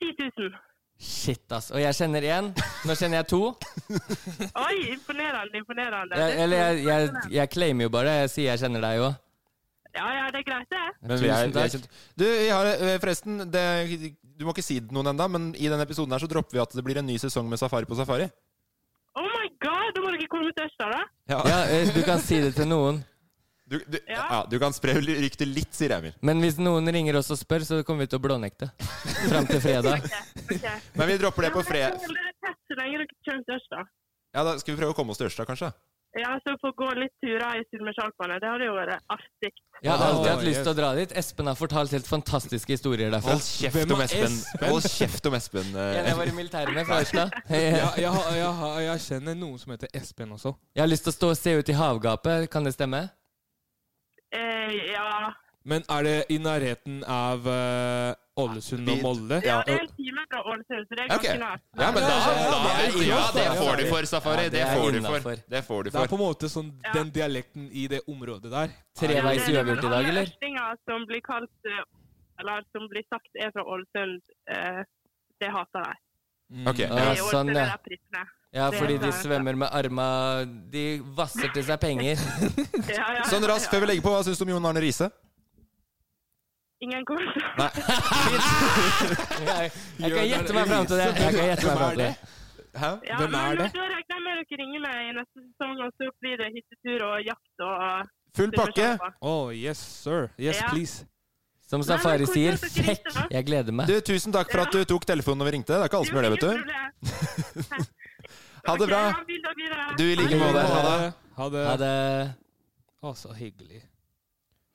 10 000.
Shit, ass. Og jeg kjenner én. Nå kjenner jeg to.
Oi, imponerende, imponerende.
Jeg, eller jeg, jeg, jeg claimer jo bare. Jeg sier jeg kjenner deg òg.
Ja, ja, det er greit, det.
Men vi er,
Tusen
vi er
takk.
kjent. Du, vi har, eh, forresten det, Du må ikke si det til noen ennå, men i denne episoden her så dropper vi at det blir en ny sesong med Safari på safari.
Oh my god, da må dere komme til Ørsta, da.
Ja,
eh, du kan si det til noen.
Du, du, ja. du kan spre ryktet litt, sier Emil.
Men hvis noen ringer oss og spør, så kommer vi til å blånekte. Fram til fredag.
Ok.
Men vi dropper det på
Ja, men
fred...
jeg tror dere er tett så lenge dere kommer til Ørsta.
Ja, da skal vi prøve å komme oss til Ørsta, kanskje?
Ja, så få gå litt turer i Sydmesjalpene. Det hadde jo vært artig.
Jeg har alltid hatt lyst til å dra dit. Espen har fortalt helt fantastiske historier derfra.
Hold kjeft om Espen. Hold kjeft om Espen. eh,
En jeg var i militæret med fra Ørsta.
ja, jeg, har- jeg, har- jeg kjenner noen som heter Espen også.
Jeg har lyst til å stå og se ut i havgapet. Kan det stemme?
Eh, ja.
Men er det i nærheten av eh, Ålesund og Molde?
ja, det er en time fra Ålesund, så det er
Ok.
ganske nært.
Ja, men da,
det
da
er
Ja, det
innenfor.
får du for,
Ja,
Safari.
det
Det
er
får du
innenfor.
for. Det får du
Det er på
for.
en måte sånn den dialekten i det området der.
Treveis uavgjort i dag, eller?
Østlinger som blir kalt, eh, eller som blir sagt er fra Ålesund, eh, det hater jeg.
Ok.
Ja,
I Ålesund
sånn,
er
ja.
det prisene. Det
Ja,
sånn.
fordi de
hater jeg.
svømmer med arma De vasser til seg penger.
Ja, ja,
Sånn
ja,
raskt
ja.
før vi legger på, hva syns du om Jon Arne Riise?
Ingen kommentar.
Nei.
Jeg, jeg kan gjette meg fram til det. Jeg kan gjette meg frem til det.
Hæ?
Ja,
Hvem
men
er det?
Da regner jeg med dere ringer meg i neste sesong, og så blir det hyttetur og jakt og
Full pakke.
Oh, yes, sir. Yes,
Ja.
please.
Som
Nei, men
Safari
hvor
sier,
er det dere
fekk!
sitter, da?
Jeg gleder meg.
Du, tusen takk for at du tok telefonen når vi ringte. Det er ikke alle som gjør det, vet du. Ha det bra. Du i like måte. Ha det.
Ha det.
Ha det.
Å, så hyggelig.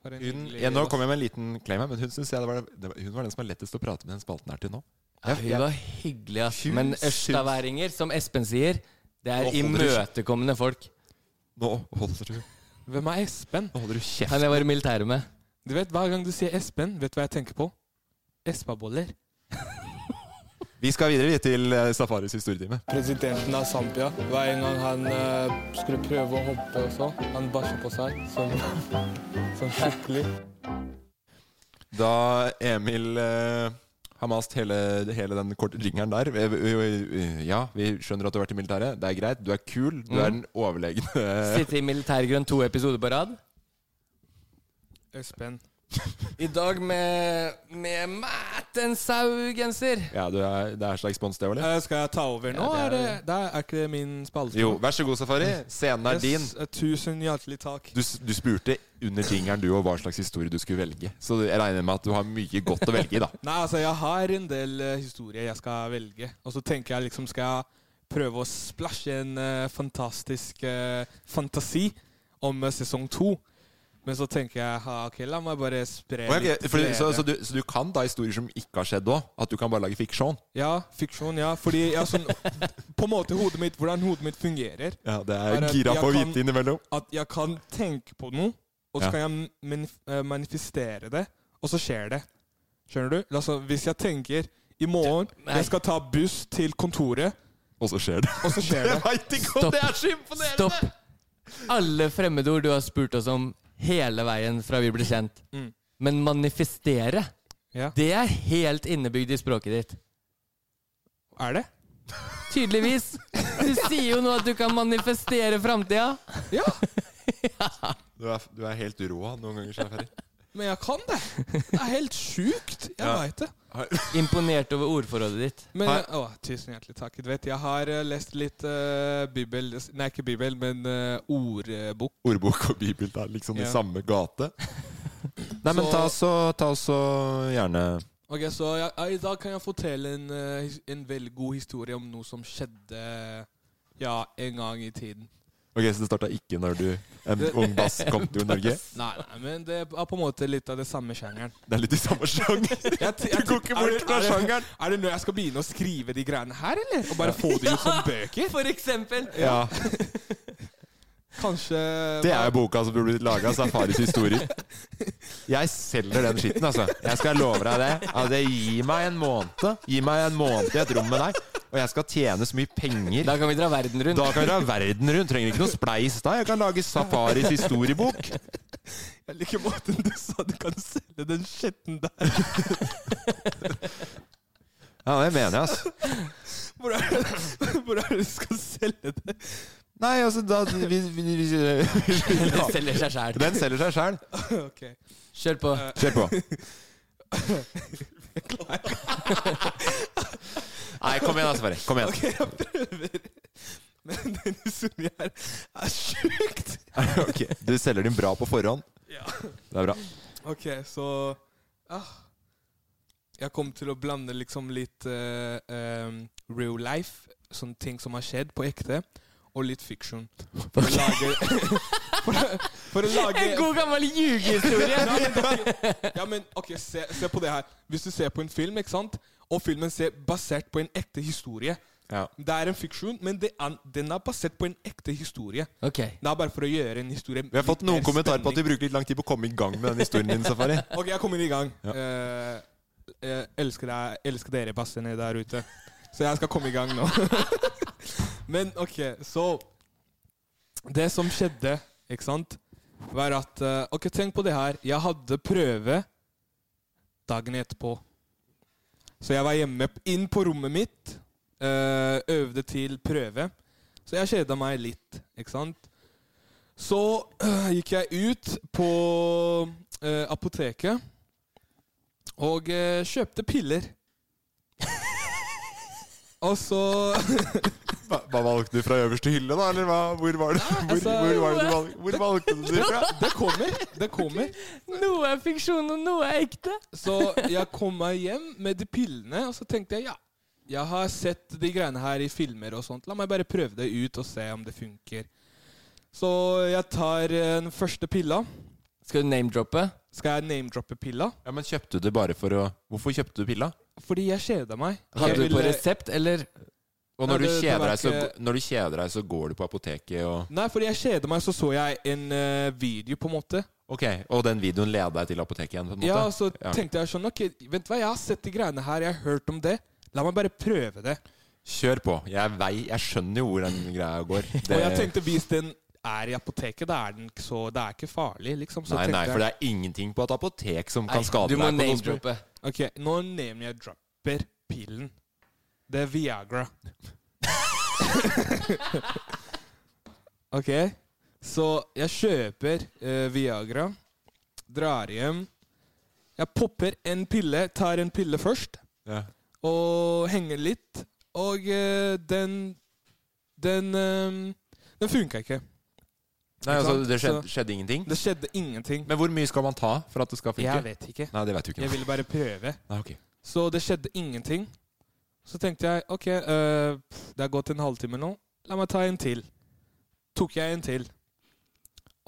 For en
Hun,
hyggelig-
ja, nå kom jeg med en liten claim her, men hun synes jeg det var, det var, hun var den som var lettest å prate med i den spalten her til nå.
Ja, hun var hyggelig, ass. Men
Hun
ørstaværinger, som Espen sier, det
Nå
er
holder du-
imøtekommende folk.
Nå holder du,
Hvem er Espen?
nå holder du kjeft.
Han jeg var i militæret med.
Du vet, Hver gang du sier Espen, vet du hva jeg tenker på? Espaboller.
Vi skal videre vi, til eh, Safaris historietime.
Presidenten av Zambia, hver gang han eh, skulle prøve å hoppe og så, han bæsja på seg som, skikkelig.
Da Emil eh, har mast hele, hele den korte ringeren der eh, eh, eh, Ja, vi skjønner at du har vært i militæret. Det er greit. Du er kul. Du
Mm.
er den overlegne
Sitte i militærgrønn to episoder på rad.
Espen.
I dag med, med Matt en sau-genser.
Ja, du er, det er slags spons, det, eller?
Eh, skal jeg ta over nå?
Ja,
er,
det
det,
er-
det er ikke det min spalte?
Jo, vær så god, Safari. Scenen er din.
Yes, eh, tusen hjertelig takk.
Du, s- du spurte under jingeren du og hva slags historie du skulle velge. Så jeg regner med at du har mye godt å velge i, da.
Nei, altså, jeg har en del eh, historier jeg skal velge. Og så tenker jeg liksom, skal jeg prøve å splasje en eh, fantastisk eh, fantasi om eh, sesong to? Men så tenker jeg, ha, ok, la meg bare spre
Ok,
litt
fordi, så,
glede.
så, du, så du kan da historier som ikke har skjedd òg? At du kan bare lage fiksjon?
Ja, fiksjon, ja. Fordi ja, sånn, på en måte hodet mitt, hvordan hodet mitt fungerer.
Ja, det
Er
er
det-
gira
jeg
på å
kan-
vite innimellom.
At jeg kan tenke på noe, og så
Ja.
kan jeg manif eh, manifestere det, og så skjer det. Skjønner du? Altså, hvis jeg tenker i morgen jeg skal ta buss til kontoret,
Og så skjer det.
og så skjer det.
Jeg veit ikke om
Stopp.
det er så imponerende!
Stopp alle fremmedord du har spurt oss om hele veien fra vi ble kjent. Men manifestere, det er helt innebygd i språket ditt.
Er det?
Tydeligvis. Du sier jo nå at du kan manifestere framtida.
Ja.
Du er, du er helt rå noen ganger, Shafari.
Men jeg kan det. Det er helt sjukt. Jeg
Ja.
vet det.
Imponert over ordforrådet ditt.
Men, å, tusen hjertelig takk. Du vet, jeg har eh, lest litt eh, bibel Nei, ikke bibel, men eh, ordbok.
Ordbok og bibel det er liksom i
Ja.
samme gate. Nei, men
Så-
ta så, ta så gjerne
Ok, så jeg, jeg, I dag kan jeg fortelle en, eh, his- en veldig god historie om noe som skjedde ja, en gang i tiden.
Ok, så det starta ikke når du en ung bass kom til Norge?
Nei, nei, men det er på en måte litt av det samme sjangeren.
Det er litt i samme sjanger.
Du
går ikke bort fra sjangeren.
Er det nå jeg skal begynne å skrive de greiene her, eller? Og bare få det ut som bøker?
For eksempel.
Ja.
Kanskje
Det er jo boka som burde blitt laga, Safaris historier. Jeg selger den skitten, altså. Jeg skal love deg det. Altså, gi meg en måned Gi meg en måned i et rom med deg, og jeg skal tjene så mye penger.
Da kan vi dra verden rundt.
Da kan vi dra verden rundt. Trenger ikke noe spleis da. Jeg kan lage Safaris historiebok.
Jeg liker måten du sa du kan selge den skitten der.
Ja, det mener jeg, altså.
Hvor er det, hvor er det du skal selge det?
Nei, altså, da vi, vi, vi, vi,
Den selger seg sjæl.
Den selger seg sjæl.
Ok. Eh,
Kjør på.
Kjør på.
Jeg klarer ikke.
Nei, kom igjen, altså, Safari. Kom igjen.
Ok, jeg prøver. Men den historien her er sjukt.
Ok, Du selger din bra på forhånd.
Ja.
Det er bra.
Ok, så ah. Jeg kom til å blande liksom litt eh, em, real life, sånne ting som har skjedd på ekte, og litt fiksjon. For å lage for, å- for å lage
En god gammel ljugehistorie.
Ja, men, da- ja, men ok, se, se på det her. Hvis du ser på en film, ikke sant? og filmen ser basert på en ekte historie
Ja.
Det er en fiksjon, men det er, den er basert på en ekte historie.
Ok.
Det er bare for å gjøre en historie
Vi har fått
litt
noen
mer
kommentarer på at
spenning.
vi bruker litt lang tid på å komme i gang med den historien din, Safari.
Ok, jeg kommer i gang. Eh, eh, elsker, deg, elsker dere bassene der ute. Så jeg skal komme i gang nå. Men ok, så Det som skjedde, ikke sant, var at eh, Ok, tenk på det her. Jeg hadde prøve dagen etterpå. Så jeg var hjemme inn på rommet mitt, eh, øvde til prøve. Så jeg kjeda meg litt, ikke sant. Så øh, gikk jeg ut på øh, apoteket og øh, kjøpte piller. og så
Hva, hva valgte du fra øverste hylle, da? Eller hva, hvor var det hvor,
altså-
hvor var det du valg, hvor valgte du det fra?
Det kommer. Det kommer.
Noe er fiksjon, og noe er ekte.
Så jeg kom meg hjem med de pillene, og så tenkte jeg ja, jeg har sett de greiene her i filmer og sånt. La meg bare prøve det ut og se om det funker. Så jeg tar øh, den første pilla.
Skal du name-droppe?
Skal jeg name-droppe pilla?
Ja, men kjøpte du det bare for å Hvorfor kjøpte du pilla?
Fordi jeg kjeda meg. Jeg
Hadde du på
ville-
resept, eller?
Og
Nei,
når,
det-
du
det
kjeder
var
deg, så,
ikke-
g- når du kjeder deg, så går du på apoteket og
Nei, fordi jeg kjeder meg, så så jeg en eh, video, på en måte.
Ok, og den videoen leder deg til apoteket igjen, på en måte?
Ja, og så
Ja.
tenkte jeg sånn Ok, vent hva, jeg har sett de greiene her, jeg har hørt om det. La meg bare prøve det.
Kjør på. Jeg, vei, jeg skjønner jo hvor den greia går.
Og jeg tenkte hvis den er i apoteket, da er den ikke så Det er ikke farlig, liksom. Så
nei, nei,
tenkte
for det
jeg,
er ingenting på et apotek som kan skade
Du
deg.
må
på noen som-
name-droppe.
Ok, nå nevner jeg dropper pillen. Det er Viagra. ok, så jeg kjøper eh, Viagra, drar hjem. Jeg popper en pille, tar en pille først,
Ja.
og henger litt. Og eh, den Den, eh, den funka ikke.
Nei, altså, det
Så-
skjedde, skjedde ingenting?
Det skjedde ingenting.
Men hvor mye skal man ta for at det skal funke?
Jeg vet ikke.
Nei, det vet du ikke.
Jeg ville bare prøve.
Nei, ok.
Så det skjedde ingenting. Så tenkte jeg ok, eh, pff, det er gått en halvtime nå. La meg ta en til. Tok jeg en til.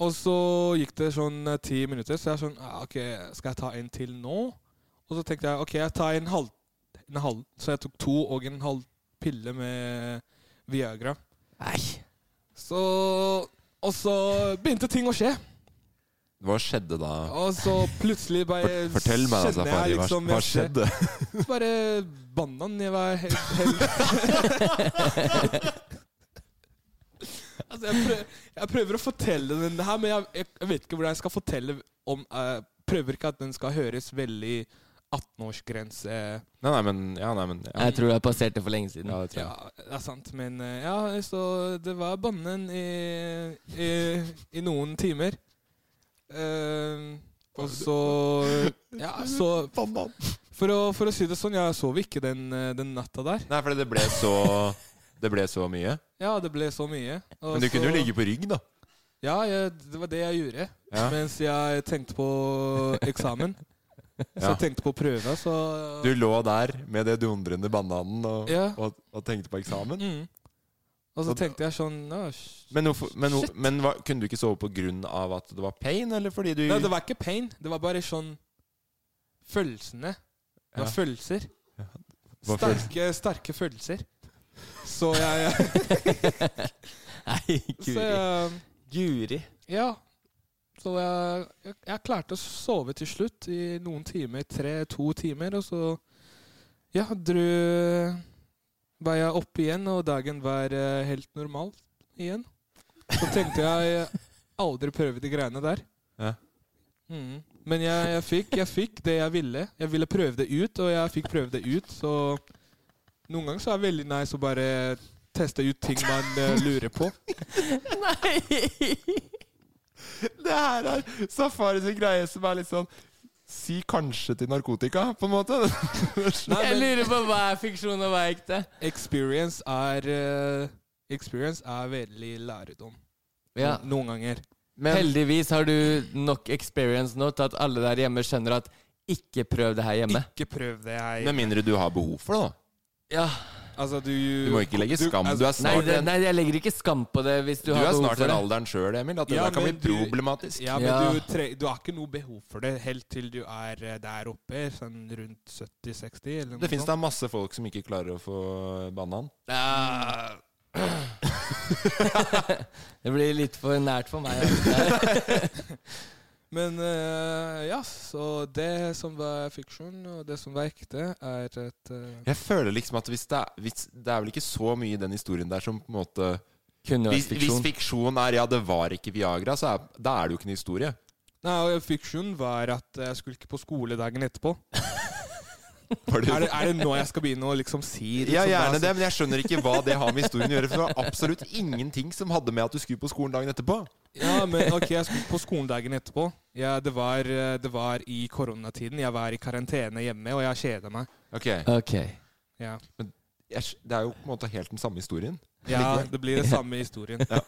Og så gikk det sånn eh, ti minutter, så jeg er sånn ah, ok, skal jeg ta en til nå? Og så tenkte jeg ok, jeg tar en halv, en halv. Så jeg tok to og en halv pille med Viagra.
Nei.
Så Og så begynte ting å skje.
Hva skjedde da?
Og så plutselig bare
Fort- Fortell meg, da,
kjenner jeg
Safari.
liksom-
hva, hva
jeg-
skjedde?
Bare banan jeg var helt, helt. altså, jeg, prøv, jeg prøver å fortelle den her, men jeg, jeg vet ikke hvordan jeg skal fortelle om eh, prøver ikke at den skal høres veldig 18-årsgrense
Nei, nei, men, ja, nei, men ja.
Jeg tror jeg passerte for lenge siden.
Ja, det tror jeg.
Ja, det er sant, men eh, ja, så det var bannen i, i, i noen timer. Eh, og så Ja, så for å, for å si det sånn, jeg sov ikke den, eh, den natta der.
Nei, fordi det ble så Det ble så mye.
Ja, det ble så mye. og
Men du kunne jo
så-
ligge på rygg, da.
Ja, jeg, det var det jeg gjorde.
Ja.
Mens jeg tenkte på eksamen. Så
Ja.
jeg tenkte på prøva, så
Du lå der med det dundrende bananen og,
Ja.
og, og tenkte på eksamen.
mm. Og så tenkte jeg sånn «Å, sh-
Men, hvorfor, men, hvor-
Shit.
men hva, kunne du ikke sove på grunn av at det var pain, eller fordi du
Nei, det var ikke pain. Det var bare sånn Følelsene. Det var
Ja.
følelser.
var følelser.
Sterke, sterke følelser. Så jeg
Nei,
Så
Guri.
jeg
Guri.
Ja. Så jeg, jeg, jeg klarte å sove til slutt i noen timer, tre-to timer, og så ja, dro, var jeg oppe igjen, og dagen var eh, helt normal igjen. Så tenkte jeg eh, aldri prøve de greiene der.
Ja.
Mm. Men jeg, jeg, fikk, jeg fikk det jeg ville. Jeg ville prøve det ut, og jeg fikk prøve det ut. Så noen ganger så er det veldig nice å bare teste ut ting man eh, lurer på.
Det her er Safari sin greie som er litt sånn Si kanskje til narkotika, på en måte.
Nei,
Jeg
men-
lurer på hva er fiksjon og hva er ekte.
Experience er eh, Experience er veldig lærdom.
Ja.
No- Noen ganger.
Men,
Heldigvis har du nok experience nå til at alle der hjemme skjønner at ikke prøv det her hjemme.
Ikke prøv det her.
med mindre du har behov for det, da.
Ja.
altså, du, altså,
Du må ikke legge skam. Du altså, er
Nei,
snart
det,
en-
nei, jeg legger ikke skam på det hvis du,
Du
har
er
behov
snart
for
den
det.
alderen sjøl, Emil, at det
Ja,
der kan bli
men du-
problematisk.
Ja, men
Ja.
Du, tre, du har ikke noe behov for det helt til du er eh, der oppe, sånn rundt 70-60 eller noe
Det fins da
sånt.
masse folk som ikke klarer å få banan.
Ja. det blir litt for nært for meg. altså.
Men eh, ja, så det som var fiksjon, og det som var ekte, er et eh,
Jeg føler liksom at hvis det, er, hvis det er vel ikke så mye i den historien der som på en måte
Kunne
Hvis,
vært
hvis
fiksjon.
fiksjon er 'ja, det var ikke Viagra', så er, da er det jo ikke en historie.
Nei, og fiksjon var at jeg skulle ikke på skole dagen etterpå.
Var det-
Er det, er det nå jeg skal begynne å liksom si liksom,
ja,
hva-
gjerne det, men jeg skjønner ikke hva det har med historien å gjøre. For det var absolutt ingenting som hadde med at du skulle på skolen dagen etterpå.
Ja, men ok, jeg skulle på skolen dagen etterpå. Ja, det, var, eh, det var i koronatiden. Jeg var i karantene hjemme, og jeg kjeda meg.
Ok,
Ok.
Ja.
jeg, skj- Det er jo på en måte helt den samme historien.
ja, det blir det samme i historien. Ja,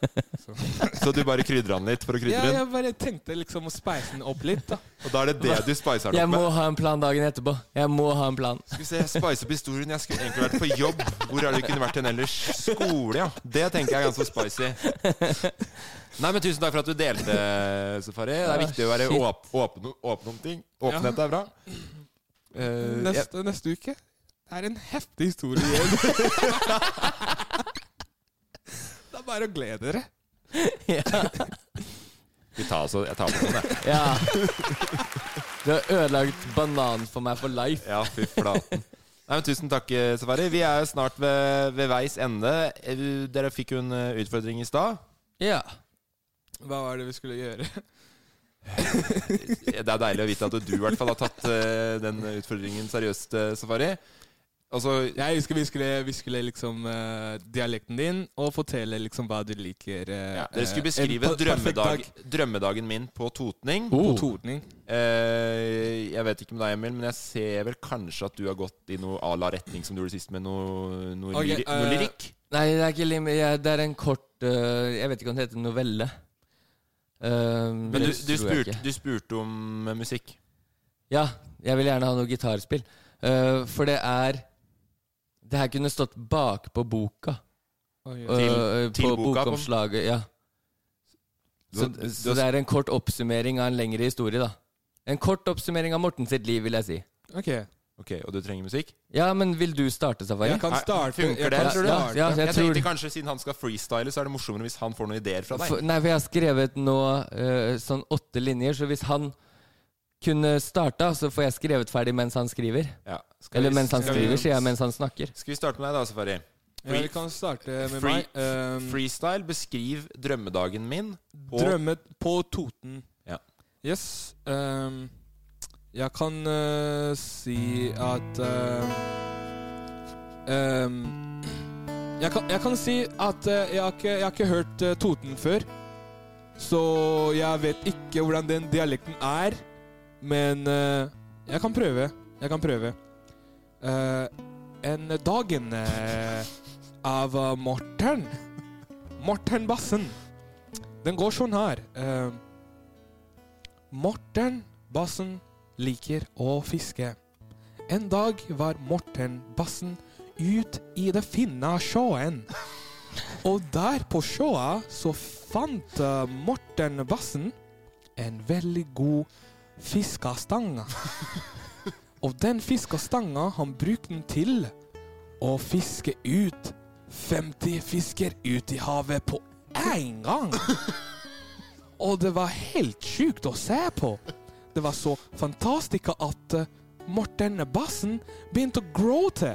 Så du bare krydrer den litt for å krydre den.
jeg bare tenkte liksom å speise den opp litt, da.
Og da er det det du spicer den
Jeg
opp
må
med.
ha en plan dagen etterpå. Jeg må ha en plan.
Skal vi se, jeg spicer opp historien. Jeg skulle egentlig vært på jobb. Hvor er det du kunne vært hen ellers? Skole, ja. Det tenker jeg er ganske spicy. Nei, men Tusen takk for at du delte, Safari. Det er
Ah,
viktig å være
shit.
åp åpen, åpen om ting. Åpenhet er bra. Eh, jeg-
Neste, neste uke. Det er en heftig historie igjen. det er bare å glede dere.
Ja.
Vi tar altså, jeg tar på den, jeg.
ja. Du har ødelagt bananen for meg for life.
Ja, fy flaten. Nei, men Tusen takk, eh, Safari. Vi er jo snart ved, ved veis ende. Eh, du- Dere fikk jo en eh, utfordring i stad.
Ja.
Hva var det vi skulle gjøre?
Det er deilig å vite at du i hvert fall har tatt eh, den utfordringen seriøst, eh, Safari. Altså,
Jeg husker vi skulle, vi skulle liksom eh, dialekten din, og fortelle liksom hva du liker. eh,
ja, dere skulle
eh, en
beskrive
per- perfekt
drømmedag,
dag
drømmedagen min på totning.
På
Oh.
tordning.
Eh, jeg vet ikke med deg, Emil, men jeg ser vel kanskje at du har gått i noe à la retning som du gjorde sist, med noe, noe,
Ok,
lyri, noe
eh,
lyrikk.
Nei, det er ikke lim... Jeg, det er en kort øh, Jeg vet ikke om det heter novelle. Ehm,
Men du,
det
du,
tror jeg
spurte,
ikke.
du spurte om eh, musikk.
Ja, jeg vil gjerne ha noe gitarspill. Eh, for det er Det her kunne stått bakpå boka.
Oi, oi.
Eh,
til
på
boka, på-
bokomslaget. Ja.
Du
Så,
har- du
så
har
det er en kort oppsummering av en lengre historie, da. En kort oppsummering av Morten sitt liv, vil jeg si.
Ok.
Ok, Og du trenger musikk?
Ja, men vil du starte, Safari?
Jeg kan
Nei,
starte.
funker
Jeg
det?
kan
Ja,
starte.
ja,
Jeg,
Jeg tror-
tenkte kanskje Siden han skal freestyle, så er det morsommere hvis han får noen ideer fra deg.
For, nei, for jeg har skrevet nå eh, sånn åtte linjer, så hvis han kunne starta, så får jeg skrevet ferdig mens han skriver.
Ja. Skal
Eller
vi-
mens han
skal vi-
skriver, sier jeg mens han snakker.
Skal vi starte med deg, da, Safari?
Ja, vi kan starte med
Free-
meg. Um,
Freestyle, beskriv drømmedagen min. og-
drømmet på Toten.
Ja.
Yes. Um, Jeg kan eh, si at eh, em, jeg, kan, jeg kan si at eh, jeg, har ikke, jeg har ikke hørt eh, Toten før. Så jeg vet ikke hvordan den dialekten er. Men eh, jeg kan prøve. Jeg kan prøve. Eh, en dagen eh, av eh, Morten. Morten Bassen. Den går sånn her. eh, Morten Bassen liker å fiske. En dag var Morten Bassen ut i det finna sjåen. Og der på sjåa så fant eh, Morten Bassen en veldig god fiskestang. Og den fiskestanga han brukte den til å fiske ut 50 fisker ut i havet på én gang. Og det var helt sjukt å se på. Det var så fantastisk at eh, Morten Bassen begynte å gråte.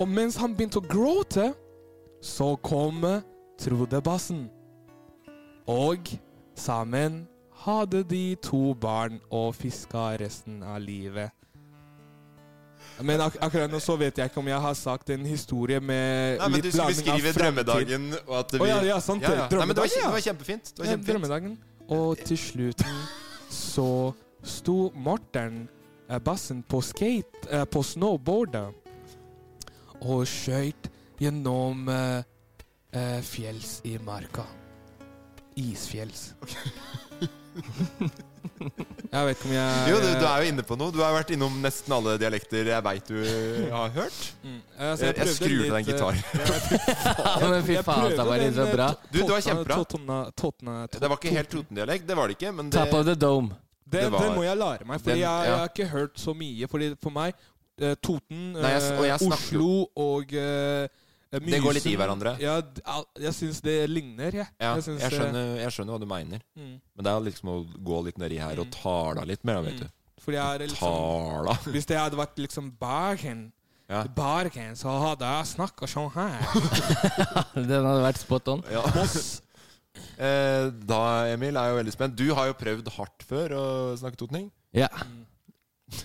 Og mens han begynte å gråte, så kom eh, Trude Bassen. Og sammen hadde de to barn og fiska resten av livet. Men ak akkurat nå så vet jeg ikke om jeg har sagt en historie med
Nei, men
litt
du skulle
blanding av
beskrive
fremtid.
drømmedagen og at vi
Å ja, ja, sant det.
Ja, ja. Nei, men det var-
Drømmedagen, ja.
det var kjempefint. Det var
Ja,
kjempefint.
drømmedagen. Og til slutten så sto Morten eh, Bassen på skate, eh, på snowboardet, og skøyt gjennom eh, eh, fjells i marka. Isfjells. Jeg vet ikke om jeg
Jo, du, du er jo inne på noe. Du har vært innom nesten alle dialekter jeg veit du har hørt.
Mm.
Jeg, jeg, skrur til deg en
eh,
gitar.
gitar.
men fy faen, da var det så bra.
eh,
Du, det var kjempebra.
Det
Det var ikke helt Toten-dialekt, det var det ikke, men det
Top of the dome.
Det,
Det var-
den må jeg lære meg, for
Den-
jeg, jeg
ja.
har ikke hørt så mye. Fordi for meg eh, Toten,
Nei, jeg s- og
eh,
jeg snakker
Oslo
jo-
og eh, Mysen
Det går litt i hverandre.
Ja, d- al- jeg syns det ligner, jeg.
Ja, jeg,
syns, eh,
skjønner, jeg skjønner hva du mener.
Mm.
Men det er liksom å gå litt nedi her og tala litt mer, da, vet du.
Fordi jeg er liksom,
Tala.
hvis det hadde vært liksom Bergen,
Ja.
Bergen, så hadde jeg snakka sånn her.
Den hadde vært spot on.
Ja. Eh, Da, Emil, er jeg jo veldig spent. Du har jo prøvd hardt før å snakke totning.
Ja. Mm.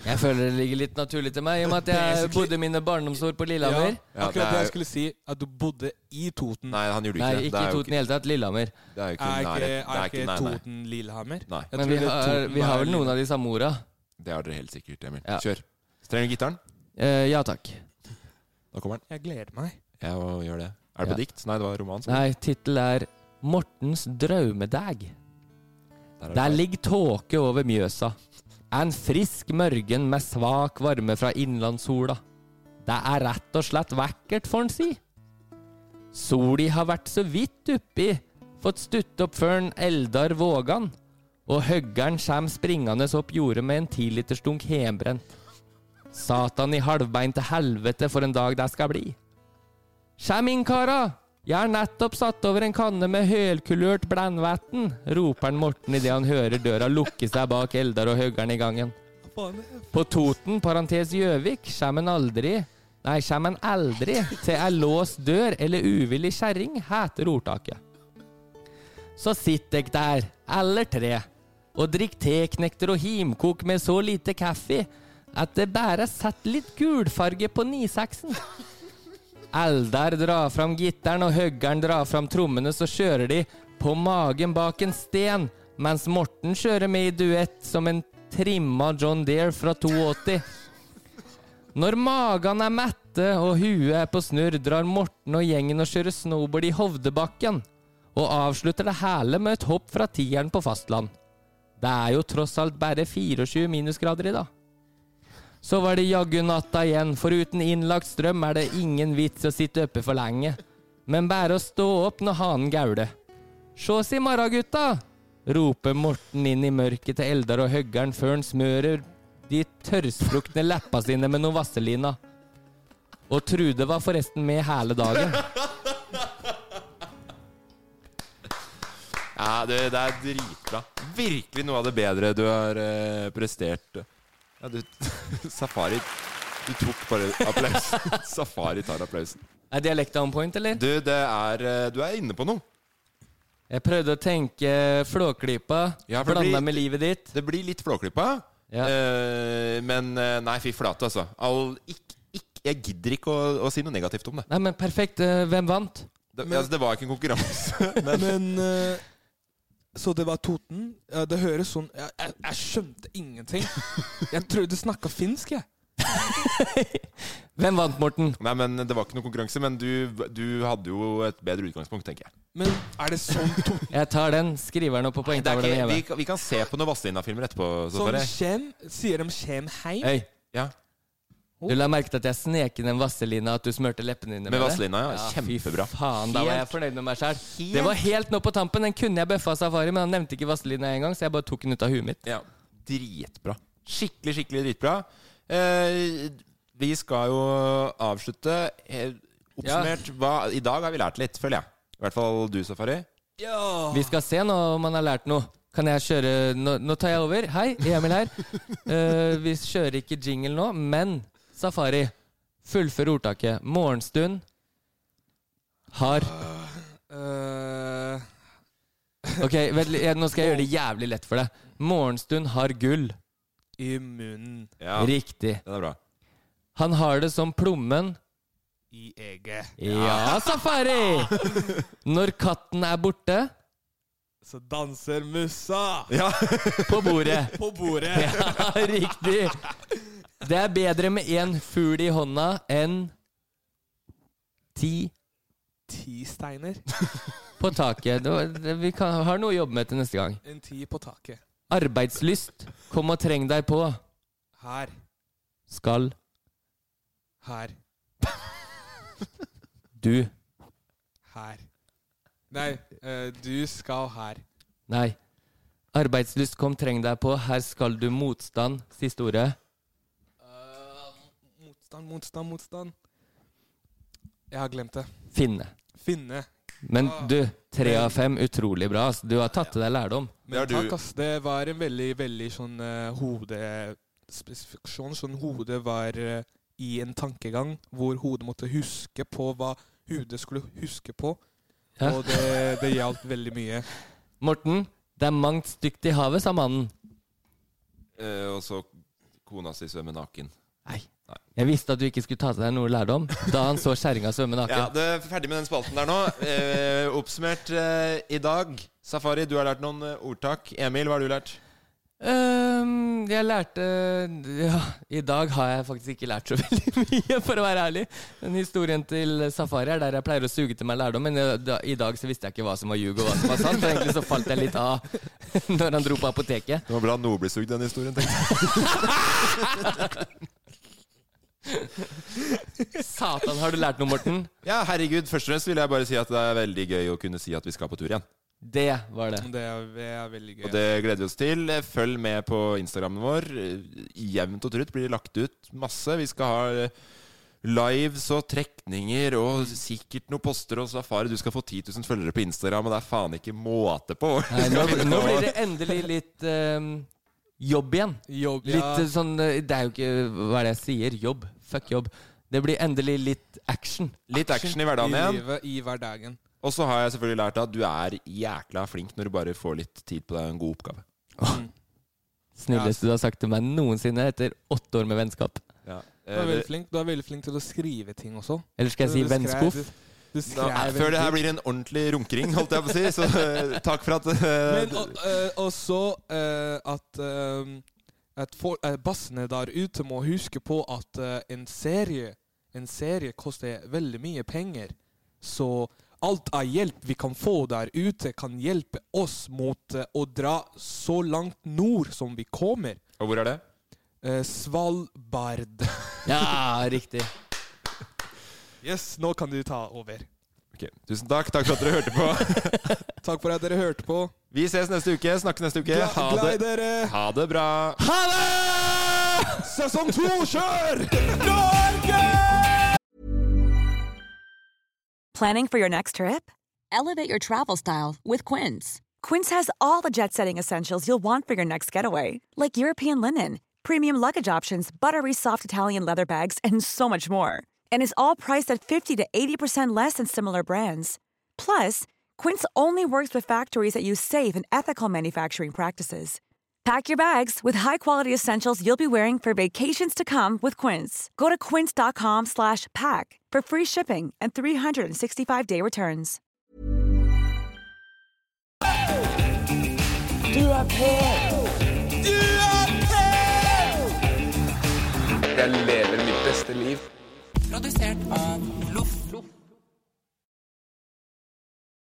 Jeg føler det ligger litt naturlig til meg, i og med at jeg bodde mine barndomsår på
Ja,
Lillehammer.
akkurat det, jeg skulle si, at du bodde i Toten.
Nei, han gjorde ikke
Nei,
det.
ikke
Det er
i
jo
Toten i hele tatt. Lillehammer.
Det er jo ikke
Er
nærhet.
ikke,
Det
er
ikke-
ikke
nei, nei.
Toten Lillehammer?
Nei.
Jeg
Men
tror
vi
det er
har,
Toten
vi har
er
vel noen av de samme orda.
Det har dere helt sikkert, Emil.
Ja.
Kjør. Trenger du gitaren?
Eh, ja takk.
Da kommer den.
Jeg gleder meg.
Jeg må gjøre det. Er det på
Ja.
dikt? Nei, det var roman.
Nei, tittelen er 'Mortens drømmedag'.
er
Der
det feil.
ligger tåke over Mjøsa. En frisk morgen med svak varme fra innlandssola. Det er rett og slett vakkert, får en si. Soli har vært så vidt oppi, fått stutt opp før en Eldar Vågan. Og høggeren kjem springende opp jordet med en tilitersdunk hjembrent. Satan i halvbein til helvete for en dag det skal bli. Kjem inn, kara! Jeg har nettopp satt over en kanne med hølkulørt blandvann, roper han Morten idet han hører døra lukke seg bak Eldar og høggeren i gangen.
Faen, jeg-
På Toten, parentes Gjøvik, kjem en aldri Nei, kjem en aldri til ei låst dør eller uvillig kjerring, heter ordtaket. Så sitter jeg der, eller tre, og drikker teknekter og himkok med så lite kaffe at det bare setter litt gulfarge på nisaksen. Eldar drar fram gitteren, og høggeren drar fram trommene, så kjører de på magen bak en sten, mens Morten kjører med i duett som en trimma John Deere fra 82. Når magen er mette og huet er på snurr, drar Morten og gjengen og kjører snowboard i Hovdebakken, og avslutter det hele med et hopp fra tieren på fastland. Det er jo tross alt bare 24 minusgrader i dag. Så var det jaggu natta igjen, for uten innlagt strøm er det ingen vits å sitte oppe for lenge. Men bare å stå opp når hanen gauler. Sjås i morgen, gutta! roper Morten inn i mørket til Eldar og Høggern før han smører de tørrstrukne leppa sine med noe vaselina. Og Trude var forresten med hele dagen.
Ja, det, det er dritbra. Virkelig noe av det bedre du har eh, prestert. Ja, du, Safari Du tok bare applausen. Safari tar applausen.
Er dialekta on point, eller?
Du, det er, eh, du er inne på noe.
Jeg prøvde å tenke Flåklypa,
Ja, for det
blanda
blir-
med livet ditt.
Det blir litt Flåklypa. Eh, men eh, nei, fy flate, altså. All, ikk, ikk, jeg gidder ikke å, å si noe negativt om det.
Nei, men perfekt. Eh, Hvem vant?
Det, altså, det var ikke en konkurranse. Men,
Men eh, Så det var Toten. Ja, det høres sånn jeg, jeg, jeg skjønte ingenting. Jeg trodde du snakka finsk, jeg.
Hvem vant, Morten?
Nei, men Det var ikke noen konkurranse, men du, du hadde jo et bedre utgangspunkt, tenker jeg.
Men er det sånn Toten
Jeg tar den. Skriver den opp på
Det er
poengtavla
ikke,
hjemme.
vi, kan- vi kan se på noen Vazelina-filmer etterpå.
Sånn
Safari.
kjem? Sier de kjem heim?
Hei.
Ja.
Du la merke til at jeg snek inn en vaselina, at du smurte leppene dine
Med
det?
vaselina, ja. Kjempebra.
Fy faen, da var jeg
Helt-
fornøyd med meg sjæl. Det var helt nå på tampen. Den kunne jeg bøffa safari, men han nevnte ikke vaselina engang, så jeg bare tok den ut av huet mitt.
Ja, dritbra. Skikkelig, skikkelig dritbra. Eh, vi skal jo avslutte. Eh, oppsummert, hva, i dag har vi lært litt, føler jeg. I hvert fall du, Safari.
Vi skal se nå om han har lært noe. Kan jeg kjøre Nå, nå tar jeg over. Hei, Emil her. Eh, vi kjører ikke jingle nå, men Safari, fullfør ordtaket. Morgenstund har
Eh,
Ok, vent, litt, jeg- nå skal jeg gjøre det jævlig lett for deg. Morgenstund har gull.
I munnen.
Ja,
Riktig.
Den er bra.
Han har det som plommen.
I eget.
Ja, Safari! Når katten er borte
Så danser mussa
Ja.
på bordet.
på bordet.
Ja, riktig. Det er bedre med én fugl i hånda enn ti
Ti steiner.
på taket. Det var, det, vi kan, har noe å jobbe med til neste gang.
En ti på taket.
Arbeidslyst, kom og treng deg på.
Her.
Skal
Her.
du
Her. Nei, eh, du skal her.
Nei. Arbeidslyst, kom, treng deg på. Her skal du motstand. Siste ordet.
Eh, Motstand, motstand, motstand. Jeg har glemt det.
Finne.
Finne.
Men du, tre av fem, utrolig bra. ass. Du har tatt til deg lærdom.
Det
Men
er du.
takk, ass. Det var en veldig, veldig sånn eh, hodespesifiksjon. Sånn hodet var eh, i en tankegang hvor hodet måtte huske på hva hodet skulle huske på.
Ja.
Og det, det hjalp veldig mye.
Morten, det er mangt stygt i havet, sa mannen.
Eh, og så kona si svømmer naken.
Nei. Jeg visste at du ikke skulle ta til deg noe lærdom da han så kjerringa svømme
Ja,
naken.
det er Ferdig med den spalten der nå. Eh, oppsummert eh, i dag. Safari, du har lært noen eh, ordtak. Emil, hva har du lært?
Øhm, Ehm, jeg lærte Ja, i dag har jeg faktisk ikke lært så veldig mye, for å være ærlig. Den historien til Safari er der jeg pleier å suge til meg lærdom, men eh, da- i dag så visste jeg ikke hva som var ljug og hva som var sant, så egentlig så falt jeg litt av når han dro på apoteket.
Det var bra noe ble sugd, den historien. tenkte jeg.
Satan, har du lært noe, Morten?
Ja, herregud. Først og fremst vil jeg bare si at det er veldig gøy å kunne si at vi skal på tur igjen.
Det var det.
Det er, det er veldig gøy.
Og det gleder vi oss til. Følg med på Instagrammen vår. Jevnt og trutt blir det lagt ut masse. Vi skal ha eh, lives og trekninger og sikkert noen poster og safari. Du skal få 10 000 følgere på Instagram, og det er faen ikke måte på!
Nei, nå, nå blir det endelig litt øhm, jobb igjen.
Jobb,
Litt
ja.
eh, sånn eh, Det er jo ikke hva er det jeg sier. Jobb. Fuck jobb. Det blir endelig litt action.
Litt action i hverdagen
I
igjen.
livet, i hverdagen.
Og så har jeg selvfølgelig lært at du er jækla flink når du bare får litt tid på deg og en god oppgave.
Mm.
Snilleste du har sagt til meg noensinne etter åtte år med vennskap.
Ja.
Du er
Eh,
veldig flink, du er veldig flink til å skrive ting også.
Eller skal jeg si
Du skrev-
vennskuff?
du- Du
nå, eh,
skrev
før det her
veldig-
blir en ordentlig runkering, holdt jeg på å si, så eh, takk for at eh,
Men og, eh, også eh, at eh, at for, eh, bassene der ute må huske på at eh, en serie En serie koster veldig mye penger. Så alt av hjelp vi kan få der ute, kan hjelpe oss mot eh, å dra så langt nord som vi kommer.
Og hvor er det?
Eh, Svalbard.
Ja, riktig.
Yes, nå kan du ta over.
Ok, Tusen takk. Takk for at dere hørte på.
Takk for at dere hørte på.
Vi ses neste uke. Snakkes neste uke. Ha
Glad i
det.
dere!
Ha det bra.
Ha det! Sesong to, kjør! Norge!
Planning for your next trip?
Elevate your travel style with Quince.
Quince has all the jet setting essentials you'll want for your next getaway, like European linen, premium luggage options, buttery soft Italian leather bags, and so much more. And is all priced at 50 to 80% less than similar brands. Plus, Quince only works with factories that use safe and ethical manufacturing practices. Pack your bags with high-quality essentials you'll be wearing for vacations to come with Quince. Go to quince.com slash pack for free shipping and 365-day returns.
Du er på! Du er på!
Jeg lever mitt beste liv.
Produsert av Loff.